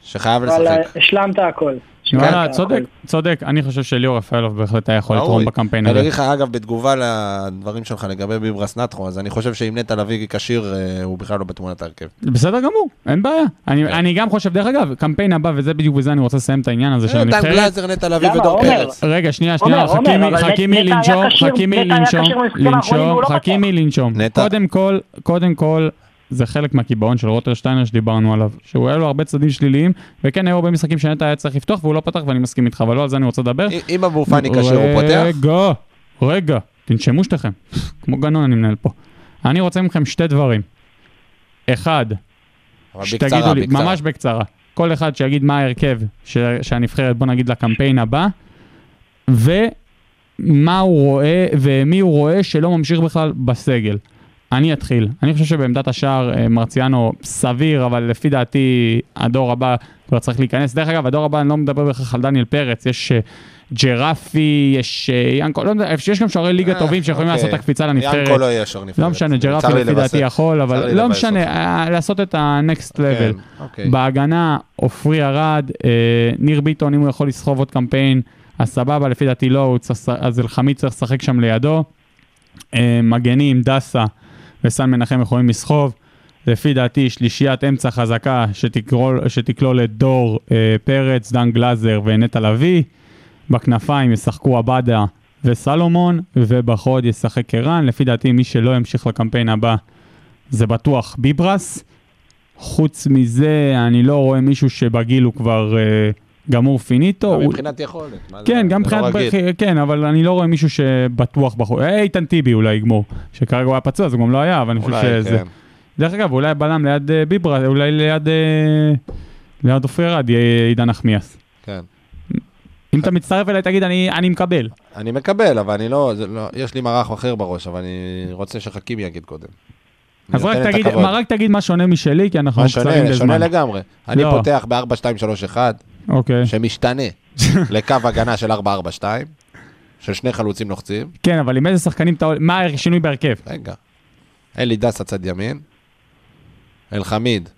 Speaker 5: שחייב
Speaker 6: וואלה,
Speaker 5: לשחק.
Speaker 6: אה, השלמת הכל. השלמת
Speaker 4: וואלה,
Speaker 6: הכל.
Speaker 4: צודק, צודק. אני חושב שליאור רפאלוב בהחלט היה יכול
Speaker 5: ראוי.
Speaker 4: לתרום בקמפיין
Speaker 5: אני
Speaker 4: הזה.
Speaker 5: אגיד לך, אגב, בתגובה לדברים שלך לגבי ביברס נטחו, אז אני חושב שאם נטע לביא כשיר, אה, הוא בכלל לא בתמונת ההרכב.
Speaker 4: בסדר גמור, אין בעיה. אני-
Speaker 6: כן.
Speaker 4: אני גם חושב, דרך אגב, קמפיין הבא, וזה בדיוק בזה אני רוצה לסיים את העניין הזה של
Speaker 5: אה, דן
Speaker 4: הנבחרת.
Speaker 5: גלאזר, נטע לביא
Speaker 6: למה,
Speaker 5: ודור
Speaker 6: עומר?
Speaker 5: פרץ.
Speaker 4: רגע, שנייה, שנייה,
Speaker 6: עומר,
Speaker 4: חכי
Speaker 6: עומר,
Speaker 4: מי-
Speaker 6: אבל
Speaker 4: חכי
Speaker 6: נט-
Speaker 4: מי
Speaker 6: נטע היה
Speaker 4: לנשום,
Speaker 6: כשיר-
Speaker 4: חכי מי
Speaker 6: נטע היה
Speaker 4: לנשום,
Speaker 6: כשיר במשחקים האחרונים
Speaker 4: לנשום,
Speaker 6: והוא לא
Speaker 4: חכי
Speaker 6: פתח.
Speaker 4: מי לנשום.
Speaker 5: נטע.
Speaker 4: קודם כל, קודם כל, זה חלק מהקיבעון של רוטרשטיינר שדיברנו עליו, שהוא היה לו הרבה צדדים שליליים, וכן היו הרבה משחקים שנטע היה צריך לפתוח והוא לא פתח ואני מסכים איתך, אבל לא על זה אני רוצה לדבר.
Speaker 5: אם- אם אבו פאני כשיר, הוא פותח?
Speaker 4: רגע, רגע, תנשמו שתיכם. כמו גנון אני מנהל פה. אני רוצה מכם שתי דברים. אחד,
Speaker 5: אבל
Speaker 4: שתגידו
Speaker 5: בקצרה,
Speaker 4: לי,
Speaker 5: בקצרה.
Speaker 4: ממש בקצרה. כל אחד שיגיד מה ההרכב ש- שהנבחרת, בוא נגיד, לקמפיין הבא, ומה הוא רואה, ומי הוא רואה שלא ממשיך בכלל בסגל. אני אתחיל. אני חושב שבעמדת השער אה, מרציאנו סביר, אבל לפי דעתי הדור הבא כבר צריך להיכנס. דרך אגב, הדור הבא, אני לא מדבר בהכרח על דניאל פרץ, יש אה, ג'רפי, יש אה, ינקו, לא יודע, יש גם שוערי ליגה
Speaker 5: אה,
Speaker 4: טובים שיכולים
Speaker 5: אוקיי.
Speaker 4: לעשות את הקפיצה לנבחרת.
Speaker 5: ינקו לא יהיה שור נבחרת.
Speaker 4: לא משנה,
Speaker 5: צר לי
Speaker 4: ג'רפי לפי
Speaker 5: לבשר.
Speaker 4: דעתי יכול,
Speaker 5: צר
Speaker 4: אבל
Speaker 5: לי
Speaker 4: לא
Speaker 5: לבאס
Speaker 4: משנה,
Speaker 5: אותך.
Speaker 4: אה, לעשות את ה-next level.
Speaker 5: כן, אוקיי.
Speaker 4: בהגנה, עופרי ארד, אה, ניר ביטון, אם הוא יכול לסחוב עוד קמפיין, אז סבבה, לפי דעתי לא, הוא צריך, לשחק- אז אלחמיד צריך לשחק שם לידו. אה, מגנים, דסה וסן מנחם יכולים לסחוב. לפי דעתי, שלישיית אמצע חזקה שתקרול, שתכלול את דור אה, פרץ, דן גלאזר ונטע לביא. בכנפיים ישחקו עבדה וסלומון, ובחוד ישחק ערן. לפי דעתי, מי שלא ימשיך לקמפיין הבא זה בטוח ביברס. חוץ מזה, אני לא רואה מישהו שבגיל הוא כבר אה, גמור פיניטו. לא, הוא-
Speaker 5: מבחינת יכולת. מה זה-
Speaker 4: כן, גם
Speaker 5: זה לא
Speaker 4: מבחינת...
Speaker 5: רגיל.
Speaker 4: בח- כן, אבל אני לא רואה מישהו שבטוח בחור. אה, איתן טיבי אולי יגמור, שכרגע הוא היה פצוע, אז הוא גם לא היה, אבל אני חושב
Speaker 8: אולי,
Speaker 4: שזה...
Speaker 8: כן.
Speaker 4: דרך אגב, אולי בלם ליד אה, ביברה, אולי ליד... אה, ליד עופרי רד יהיה עידן נחמיאס.
Speaker 5: כן.
Speaker 4: אם אתה מצטרף אליי, תגיד, אני אני מקבל.
Speaker 5: אני מקבל, אבל אני לא, זה לא- יש לי מערך אחר בראש, אבל אני רוצה שחכים יגיד קודם.
Speaker 4: אז
Speaker 5: אני
Speaker 4: רק
Speaker 5: נותן את
Speaker 4: תגיד,
Speaker 5: הכבוד.
Speaker 4: מה- רק תגיד מה שונה משלי, כי אנחנו
Speaker 5: מה
Speaker 4: קצרים
Speaker 5: שונה, שונה
Speaker 4: בזמן.
Speaker 5: לגמרי. אני
Speaker 4: לא.
Speaker 5: פותח ב-4-2-3-1,
Speaker 4: אוקיי.
Speaker 5: שמשתנה לקו הגנה של 4-4-2, של שני חלוצים לוחצים.
Speaker 4: כן, אבל עם איזה שחקנים אתה... עול- מה השינוי בהרכב?
Speaker 5: רגע. אלי דסה צד ימין, אלחמיד.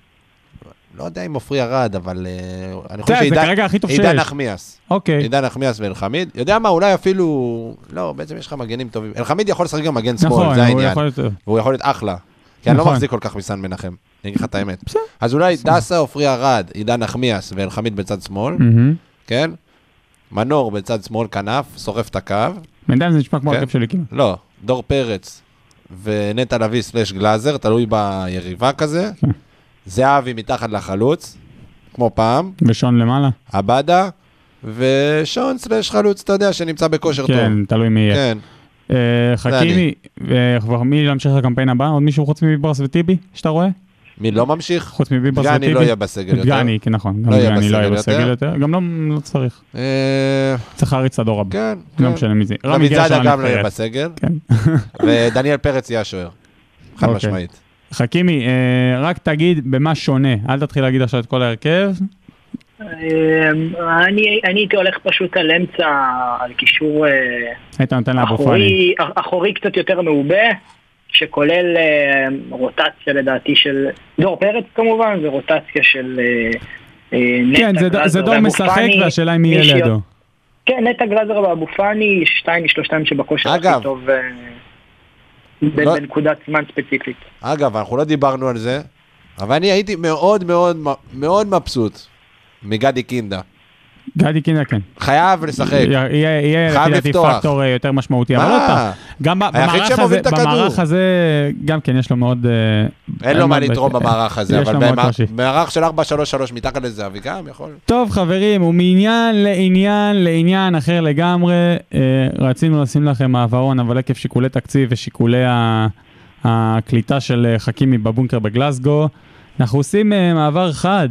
Speaker 5: לא יודע אם עופרי ירד, אבל אה, אני חושב
Speaker 4: זה
Speaker 5: שעידן
Speaker 4: כרגע הכי טוב
Speaker 5: עידן
Speaker 4: שיש.
Speaker 5: נחמיאס.
Speaker 4: אוקיי.
Speaker 5: עידן נחמיאס ואלחמיד. יודע מה, אולי אפילו... לא, בעצם יש לך מגנים טובים. אלחמיד יכול לשחק גם מגן שמאל,
Speaker 4: נכון,
Speaker 5: זה
Speaker 4: הוא
Speaker 5: העניין.
Speaker 4: יכול להיות...
Speaker 5: והוא יכול להיות אחלה. כי אני לא
Speaker 4: נכון.
Speaker 5: מחזיק כל כך מסן מנחם, אני אגיד לך את האמת. אז אולי דסה, עופרי ארד, עידן נחמיאס ואלחמיד בצד שמאל,
Speaker 4: מהמם.
Speaker 5: כן? מנור בצד שמאל כנף, שורף את הקו.
Speaker 4: בינתיים זה נשמע כמו
Speaker 5: כן.
Speaker 4: הרכב שלי כאילו. כמעט.
Speaker 5: לא, דור פרץ ונטע לביא סלאש גלאזר, תלוי ביריבה כזה. זהבי מתחת לחלוץ, כמו פעם.
Speaker 4: ושון למעלה?
Speaker 5: עבדה, ושון סלאש חלוץ, אתה יודע, שנמצא בכושר טוב.
Speaker 4: כן, תלוי מי יהיה.
Speaker 5: כן.
Speaker 4: אה,
Speaker 5: זה
Speaker 4: חכימי, אה, כבר מי להמשיך לקמפיין הבא? עוד מישהו חוץ מביברס וטיבי שאתה רואה?
Speaker 5: מי לא ממשיך?
Speaker 4: חוץ מביברס וטיבי?
Speaker 5: דגני לא יהיה בסגל יותר.
Speaker 4: דגני, כן, נכון. גם
Speaker 5: לא יהיה
Speaker 4: דגני לא יהיה
Speaker 5: בסגל
Speaker 4: בסגל
Speaker 5: יותר.
Speaker 4: יותר. גם לא- לא צריך.
Speaker 5: אה,
Speaker 4: צריך להריץ את הדור הבא.
Speaker 5: כן,
Speaker 4: לא
Speaker 5: כן.
Speaker 4: משנה מי זה. רמי
Speaker 5: רמי
Speaker 4: גרשון
Speaker 5: זאדה גם לא יהיה
Speaker 4: הנבחרת.
Speaker 5: בסגל,
Speaker 4: כן.
Speaker 5: ודניאל פרץ יהיה השוער. חד
Speaker 4: אוקיי.
Speaker 5: משמעית.
Speaker 4: חכימי, אה, רק תגיד במה שונה. אל תתחיל להגיד עכשיו את כל ההרכב.
Speaker 6: אה, אמ, אני אני הייתי הולך פשוט על אמצע, על קישור אה,
Speaker 4: היית נותן לאבו פאני.
Speaker 6: אחורי, אח- אחורי קצת יותר מעובה, שכולל אה, רוטציה לדעתי של דור פרץ כמובן, ורוטציה של אה, אה, נטע
Speaker 4: כן, זה ד-
Speaker 6: גלאזר
Speaker 4: זה דור
Speaker 6: ואבו
Speaker 4: משחק
Speaker 6: פאני,
Speaker 4: והשאלה אם יהיה
Speaker 6: מי שיוצא-
Speaker 4: לידו.
Speaker 6: כן, נטע גלאזר ואבו פאני, שתיים משלושתם שבכושר הכי
Speaker 5: אגב.
Speaker 6: טוב אה, ב-
Speaker 5: לא-
Speaker 6: בנקודת זמן ספציפית.
Speaker 5: אגב, אנחנו לא דיברנו על זה, אבל אני הייתי מאוד מאוד מאוד מבסוט מגדי קינדה.
Speaker 4: גדי קינדה כן.
Speaker 5: חייב לשחק.
Speaker 4: יהיה- יהיה יהיה, לפי
Speaker 5: חייב
Speaker 4: דעתי
Speaker 5: לפתוח.
Speaker 4: פקטור אה, יותר משמעותי. אבל
Speaker 5: מה?
Speaker 4: עוד פעם, גם ב-
Speaker 5: היחיד
Speaker 4: במערך הזה,
Speaker 5: שמוביל את הכדור.
Speaker 4: במערך הזה, גם כן יש לו מאוד... אה,
Speaker 5: אין לו
Speaker 4: מאוד
Speaker 5: מה
Speaker 4: בק-
Speaker 5: לתרום
Speaker 4: אה,
Speaker 5: במערך הזה,
Speaker 4: יש
Speaker 5: אבל
Speaker 4: לו מאוד
Speaker 5: במע-
Speaker 4: קושי.
Speaker 5: במערך של 4-3-3 מתחת לזהבי גם יכול.
Speaker 4: טוב חברים, ומעניין לעניין לעניין אחר לגמרי, אה, רצינו לשים לכם העברון, אבל עקב שיקולי תקציב ושיקולי ה- הקליטה של אה, חכימי בבונקר בגלסגו, אנחנו עושים אה, מעבר חד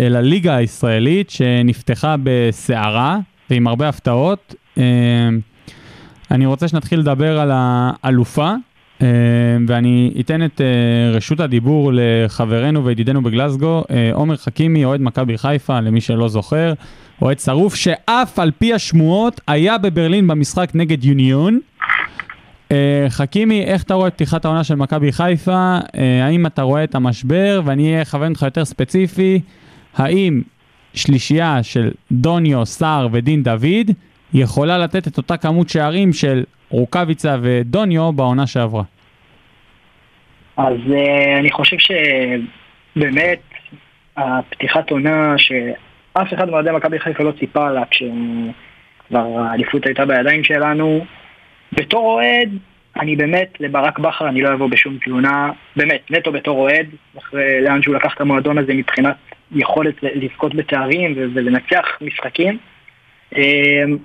Speaker 4: אל הליגה הישראלית שנפתחה בסערה ועם הרבה הפתעות. אה, אני רוצה שנתחיל לדבר על האלופה, אה, ואני אתן את אה, רשות הדיבור לחברנו וידידנו בגלסגו, אה, עומר חכימי, אוהד מכבי חיפה, למי שלא זוכר, אוהד שרוף, שאף על פי השמועות היה בברלין במשחק נגד יוניון. אה, חכימי, איך אתה רואה את פתיחת העונה של מכבי חיפה? אה, האם אתה רואה את המשבר? ואני אכוון אותך יותר ספציפי, האם שלישייה של דוניו, סער ודין דוד יכולה לתת את אותה כמות שערים של רוקאביצה ודוניו בעונה שעברה?
Speaker 6: אז אה, אני חושב שבאמת הפתיחת עונה שאף אחד מאוהדי מכבי חיפה לא ציפה לה כשכבר האליפות הייתה בידיים שלנו. בתור אוהד, אני באמת, לברק בכר אני לא אבוא בשום תלונה, באמת, נטו בתור אוהד, אחרי לאן שהוא לקח את המועדון הזה מבחינת יכולת לזכות בתארים ו- ולנצח משחקים. אמ,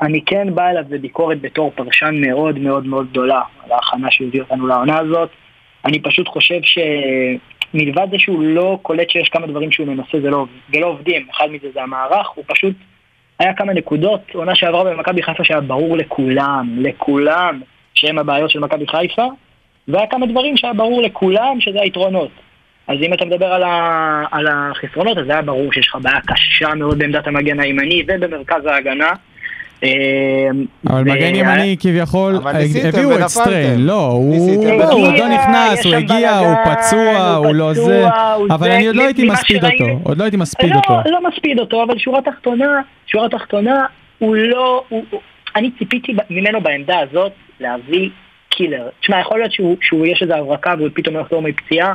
Speaker 6: אני כן בא אליו בביקורת בתור פרשן מאוד מאוד מאוד גדולה על ההכנה שהביא אותנו לעונה הזאת. אני פשוט חושב שמלבד זה שהוא לא קולט שיש כמה דברים שהוא מנסה, זה לא, זה לא עובדים. אחד מזה זה המערך, הוא פשוט... היה כמה נקודות, עונה שעברה במכבי חיפה שהיה ברור לכולם, לכולם, שהם הבעיות של מכבי חיפה, והיה כמה דברים שהיה ברור לכולם שזה היתרונות. אז אם אתה מדבר על, ה... על החסרונות, אז היה ברור שיש לך בעיה קשה מאוד בעמדת המגן הימני ובמרכז ההגנה. אמ,
Speaker 4: אבל
Speaker 6: ו-
Speaker 4: מגן ימני כביכול,
Speaker 5: אבל
Speaker 4: אה,
Speaker 5: ניסיתם
Speaker 4: הביאו את
Speaker 5: ונפלתם.
Speaker 4: סטריין, לא, הוא
Speaker 5: ניסיתם
Speaker 4: בוא, הוא עוד לא
Speaker 6: הגיע,
Speaker 4: נכנס,
Speaker 6: יש
Speaker 4: הוא
Speaker 6: שם
Speaker 4: הגיע, הוא
Speaker 6: בלאגן,
Speaker 4: פצוע, הוא לא
Speaker 6: פצוע,
Speaker 4: זה,
Speaker 6: הוא
Speaker 4: אבל
Speaker 6: זה,
Speaker 4: אני עוד לא
Speaker 6: מ-
Speaker 4: הייתי
Speaker 6: ממה
Speaker 4: מספיד
Speaker 6: שראינו-
Speaker 4: אותו, עוד לא הייתי מספיד
Speaker 6: לא,
Speaker 4: אותו.
Speaker 6: לא מספיד אותו, אבל שורה תחתונה, שורה תחתונה, שורה תחתונה, הוא לא, הוא, הוא, אני ציפיתי ב- ממנו בעמדה הזאת להביא קילר. תשמע, יכול להיות שהוא, שהוא יש איזו הברקה והוא פתאום יחזור מפציעה,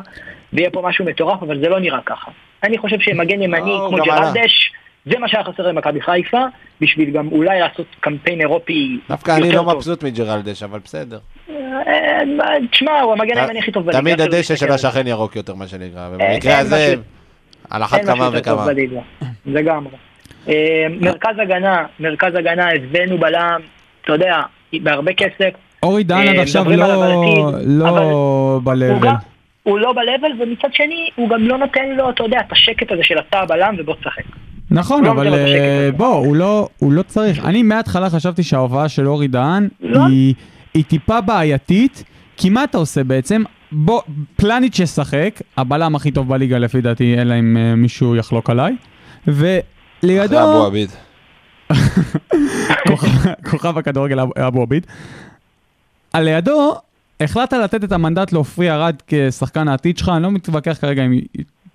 Speaker 6: ויהיה פה משהו מטורף, אבל זה לא נראה ככה. אני חושב שמגן ימני
Speaker 5: לא, הוא
Speaker 6: כמו
Speaker 5: גם עלה.
Speaker 6: ג'רלדש, זה מה שהיה חסר למכבי חיפה, בשביל גם אולי לעשות קמפיין אירופי
Speaker 5: דווקא אני
Speaker 6: יותר
Speaker 5: לא
Speaker 6: טוב.
Speaker 5: מבסוט מג'רלדש, אבל בסדר.
Speaker 6: אה, תשמע, הוא המגן הימני הכי טוב בליגה.
Speaker 5: תמיד
Speaker 6: עכשיו
Speaker 5: הדשא של
Speaker 6: מסתכל על זה.
Speaker 5: השכן ירוק יותר, מה שנקרא,
Speaker 6: אה,
Speaker 5: ובמקרה
Speaker 6: אין
Speaker 5: הזה,
Speaker 6: משהו-
Speaker 5: על אחת
Speaker 6: אין משהו
Speaker 5: כמה
Speaker 6: יותר טוב
Speaker 5: וכמה.
Speaker 6: בליגה, לגמרי. אה, מרכז הגנה, מרכז הגנה, הבאנו בלם, אתה יודע, בהרבה כסף.
Speaker 5: כן,
Speaker 4: אורי דן עד
Speaker 6: אה,
Speaker 4: עכשיו
Speaker 6: מדברים
Speaker 4: לא-
Speaker 6: עליו בעתיד,
Speaker 4: לא
Speaker 5: כן.
Speaker 6: הוא
Speaker 4: ב-level.
Speaker 6: גם- הוא לא ב-level, ומצד שני, הוא גם לא נותן לו, אתה יודע, את השקט הזה של אתה הבלם ובוא תשחק.
Speaker 4: נכון,
Speaker 6: לא
Speaker 4: אבל
Speaker 6: נותן לו את השקט
Speaker 4: אה,
Speaker 6: הזה.
Speaker 4: בוא, הוא לא- הוא לא צריך. אני מההתחלה חשבתי שההופעה של אורי דהן
Speaker 6: לא.
Speaker 4: היא- היא טיפה בעייתית, כי מה אתה עושה בעצם? בוא, פלניץ' ישחק, הבלם הכי טוב בליגה לפי דעתי, אלא אם אה, מישהו יחלוק עליי,
Speaker 7: אחרי אבו
Speaker 4: ולידו
Speaker 7: עביד.
Speaker 4: כוכב- כוכב הכדורגל אב- אבו עביד. על לידו החלטת לתת את המנדט לעופרי ארד כשחקן העתיד שלך, אני לא מתווכח כרגע אם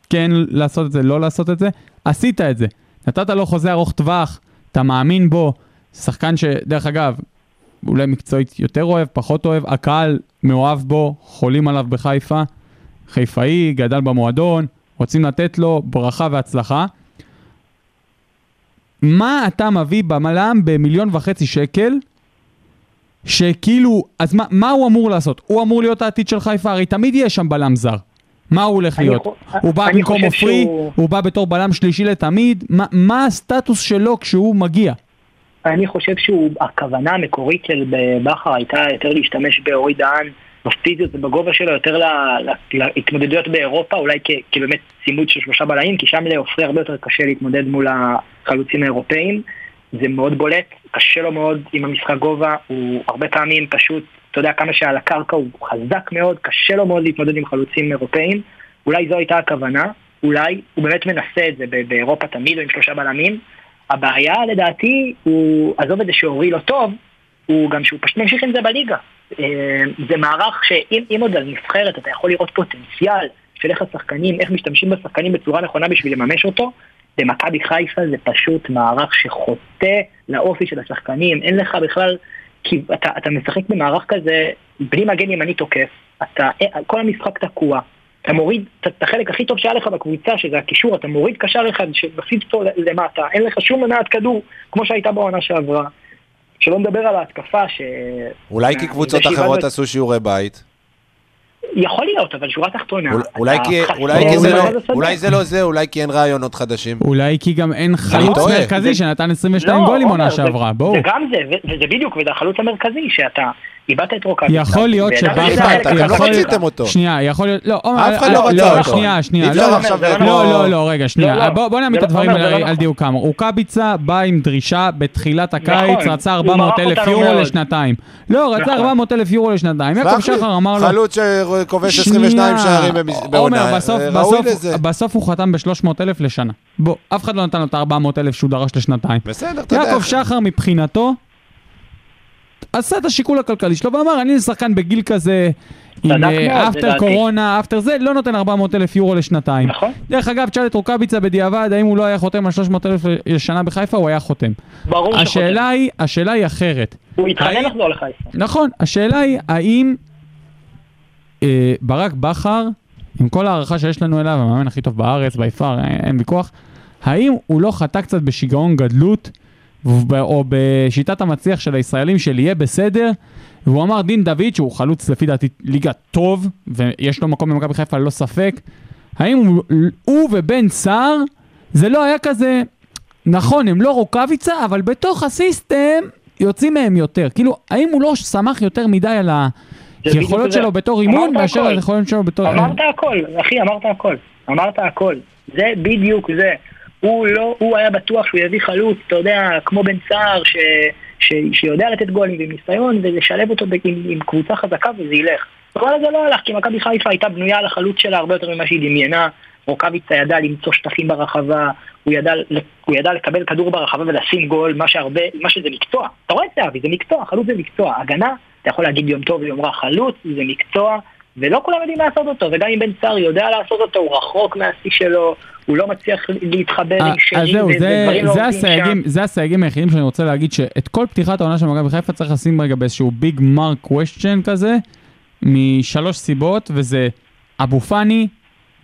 Speaker 4: כן לעשות את זה, לא לעשות את זה, עשית את זה. נתת לו חוזה ארוך טווח, אתה מאמין בו, שחקן שדרך אגב, אולי מקצועית יותר אוהב, פחות אוהב, הקהל מאוהב בו, חולים עליו בחיפה, חיפאי, גדל במועדון, רוצים לתת לו ברכה והצלחה. מה אתה מביא במל"ם במיליון וחצי שקל שכאילו, אז מה, מה הוא אמור לעשות? הוא אמור להיות העתיד של חיפה, הרי תמיד יהיה שם בלם זר. מה הוא הולך
Speaker 6: אני
Speaker 4: להיות?
Speaker 6: חו-
Speaker 4: הוא בא
Speaker 6: אני
Speaker 4: במקום
Speaker 6: חושב
Speaker 4: עופרי,
Speaker 6: שהוא-
Speaker 4: הוא בא בתור בלם שלישי לתמיד, מה, מה הסטטוס שלו כשהוא מגיע?
Speaker 6: אני חושב שהכוונה המקורית של בכר הייתה יותר להשתמש באורי דהן בפיזיות ובגובה שלו, יותר לה- לה- להתמודדויות באירופה, אולי כ- כבאמת צימוד של שלושה בלמים, כי שם לעופרי הרבה יותר קשה להתמודד מול החלוצים האירופאים. זה מאוד בולט, קשה לו מאוד עם המשחק גובה, הוא הרבה פעמים פשוט, אתה יודע כמה שעל הקרקע הוא חזק מאוד, קשה לו מאוד להתמודד עם חלוצים אירופאים. אולי זו הייתה הכוונה, אולי הוא באמת מנסה את זה ב- באירופה תמיד או עם שלושה בלמים. הבעיה לדעתי הוא, עזוב את זה שאורי לא טוב, הוא גם שהוא פשוט ממשיך עם זה בליגה. אה, זה מערך שאם אם עוד על נבחרת אתה יכול לראות פוטנציאל של איך השחקנים, איך משתמשים בשחקנים בצורה נכונה בשביל לממש אותו, במכבי חיפה זה פשוט מערך שחוטא לאופי של השחקנים, אין לך בכלל, כי אתה, אתה משחק במערך כזה בלי מגן ימני תוקף, אתה, אה, כל המשחק תקוע, אתה מוריד את- את החלק הכי טוב שהיה לך בקבוצה, שזה הקישור, אתה מוריד קשר אחד שמפסיד אותו ל- למטה, אין לך שום מנעת כדור, כמו שהייתה בעונה שעברה. שלא נדבר על ההתקפה, ש...
Speaker 5: אולי כי קבוצות
Speaker 6: זה שאיבדנו
Speaker 5: אחרות
Speaker 6: את-
Speaker 5: עשו שיעורי בית.
Speaker 6: יכול להיות, אבל שורה תחתונה.
Speaker 5: אול- אולי
Speaker 6: אתה
Speaker 5: כי-
Speaker 6: חסר
Speaker 5: אולי כי זה
Speaker 6: מרכז
Speaker 5: לא-
Speaker 6: השדה.
Speaker 5: אולי זה לא זה, אולי כי אין רעיונות חדשים.
Speaker 4: אולי כי גם אין חלוץ
Speaker 5: טועה.
Speaker 4: מרכזי
Speaker 6: זה-
Speaker 4: שנתן 22 גולים
Speaker 6: לא, עומר,
Speaker 4: עונה
Speaker 6: זה-
Speaker 4: שעברה, בואו.
Speaker 6: זה גם זה, ו- וזה בדיוק, וזה החלוץ המרכזי, שאתה איבדת את רוקאביצה.
Speaker 4: יכול להיות
Speaker 6: ואנחנו
Speaker 4: שבכר-
Speaker 6: יודעים שהחלק
Speaker 4: אתם לא
Speaker 6: הקדמי-
Speaker 5: רציתם אותו.
Speaker 4: שנייה, יכול להיות, לא, עומר,
Speaker 5: אף אחד לא
Speaker 6: רצה אותו.
Speaker 4: שנייה, שנייה,
Speaker 5: אי אפשר
Speaker 4: לא,
Speaker 5: עכשיו...
Speaker 6: זה לא
Speaker 5: כמו-
Speaker 4: לא, לא, לא, רגע,
Speaker 6: לא,
Speaker 4: שנייה.
Speaker 6: לא.
Speaker 4: בוא בוא נעמיד
Speaker 6: זה
Speaker 4: את
Speaker 6: לא-
Speaker 4: הדברים
Speaker 6: עומר, זה
Speaker 4: על
Speaker 6: לא
Speaker 4: על
Speaker 6: נכון.
Speaker 4: דיוקם. רוקאביצה בא עם דרישה בתחילת הקיץ,
Speaker 6: נכון,
Speaker 4: רצה
Speaker 6: הוא
Speaker 4: 400
Speaker 6: מרח
Speaker 4: אלף
Speaker 6: אותנו
Speaker 4: יורו
Speaker 6: מאוד.
Speaker 4: לשנתיים. לא, רצה
Speaker 6: נכון.
Speaker 4: 400 אלף יורו לשנתיים. יעקב
Speaker 5: סלח לי,
Speaker 4: שחר אמר לו...
Speaker 5: חלוץ שכובש 22
Speaker 4: שנייה.
Speaker 5: שערים במס- בעונה,
Speaker 4: עומר, בסוף,
Speaker 5: אה, ראוי
Speaker 4: בסוף,
Speaker 5: לזה.
Speaker 4: בסוף הוא חתם ב-300 אלף לשנה. בוא, אף אחד לא נתן לו את ה-400 אלף שהוא דרש לשנתיים.
Speaker 5: בסדר, אתה יודע.
Speaker 4: יעקב שחר מבחינתו, עשה את השיקול הכלכלי שלו ואמר, אני שחקן בגיל כזה, עם
Speaker 6: צדק מאוד,
Speaker 4: אה, אפטר
Speaker 6: לדעתי.
Speaker 4: קורונה, אפטר זה, לא נותן 400 אלף יורו לשנתיים.
Speaker 6: נכון.
Speaker 4: דרך אגב, תשאל את רוקאביצה בדיעבד, האם הוא לא היה חותם על 300 אלף לשנה בחיפה, הוא היה חותם.
Speaker 6: ברור
Speaker 4: השאלה היא, השאלה היא אחרת.
Speaker 6: הוא התחנן
Speaker 4: האם-
Speaker 6: לחזור לחיפה.
Speaker 4: נכון, השאלה היא, האם אה, ברק בכר, עם כל ההערכה שיש לנו אליו, המאמן הכי טוב בארץ, ביפר, אין, אין ויכוח, האם הוא לא חטא קצת בשיגעון גדלות, וב- או בשיטת המצליח של הישראלים של יהיה בסדר, והוא אמר דין דוד, שהוא חלוץ לפי דעתי ליגה טוב, ויש לו מקום במכבי חיפה ללא ספק, האם הוא, הוא ובן סער, זה לא היה כזה, נכון, הם לא רוקאביצה, אבל בתוך הסיסטם יוצאים מהם יותר. כאילו, האם הוא לא סמך יותר מדי על
Speaker 6: זה
Speaker 4: היכולות
Speaker 6: בדיוק זה.
Speaker 4: שלו בתור אימון,
Speaker 6: אמרת
Speaker 4: מאשר
Speaker 6: הכל.
Speaker 4: על היכולות שלו בתור...
Speaker 6: אמרת הכל, אחי, אמרת הכל. אמרת הכל. זה בדיוק זה. הוא לא, הוא היה בטוח שהוא יביא חלוץ, אתה יודע, כמו בן סער, ש, ש, שיודע לתת גולים עם ניסיון, ולשלב אותו ב- עם, עם קבוצה חזקה וזה ילך. אבל זה לא הלך, כי מכבי חיפה הייתה בנויה על החלוץ שלה הרבה יותר ממה שהיא דמיינה. רוקאביצה ידע למצוא שטחים ברחבה, הוא ידע, ל- הוא ידע לקבל כדור ברחבה ולשים גול, מה שהרבה, מה שזה מקצוע. אתה רואה את זהבי, זה מקצוע, חלוץ זה מקצוע. הגנה, אתה יכול להגיד יום טוב ויום רע, חלוץ זה מקצוע, ולא כולם יודעים לעשות אותו, וגם אם בן סער יודע לעשות אותו, הוא רחוק מהשיא שלו, הוא לא מצליח להתחבר עם שני,
Speaker 4: אז אה, זהו,
Speaker 6: ו-
Speaker 4: זה,
Speaker 6: ודברים לא
Speaker 4: זה,
Speaker 6: עובדים
Speaker 4: הסייגים,
Speaker 6: שם.
Speaker 4: זה הסייגים היחידים שאני רוצה להגיד שאת כל פתיחת העונה של מכבי חיפה צריך לשים רגע באיזשהו ביג מרק קוושצ'ן כזה, משלוש סיבות, וזה אבו פאני,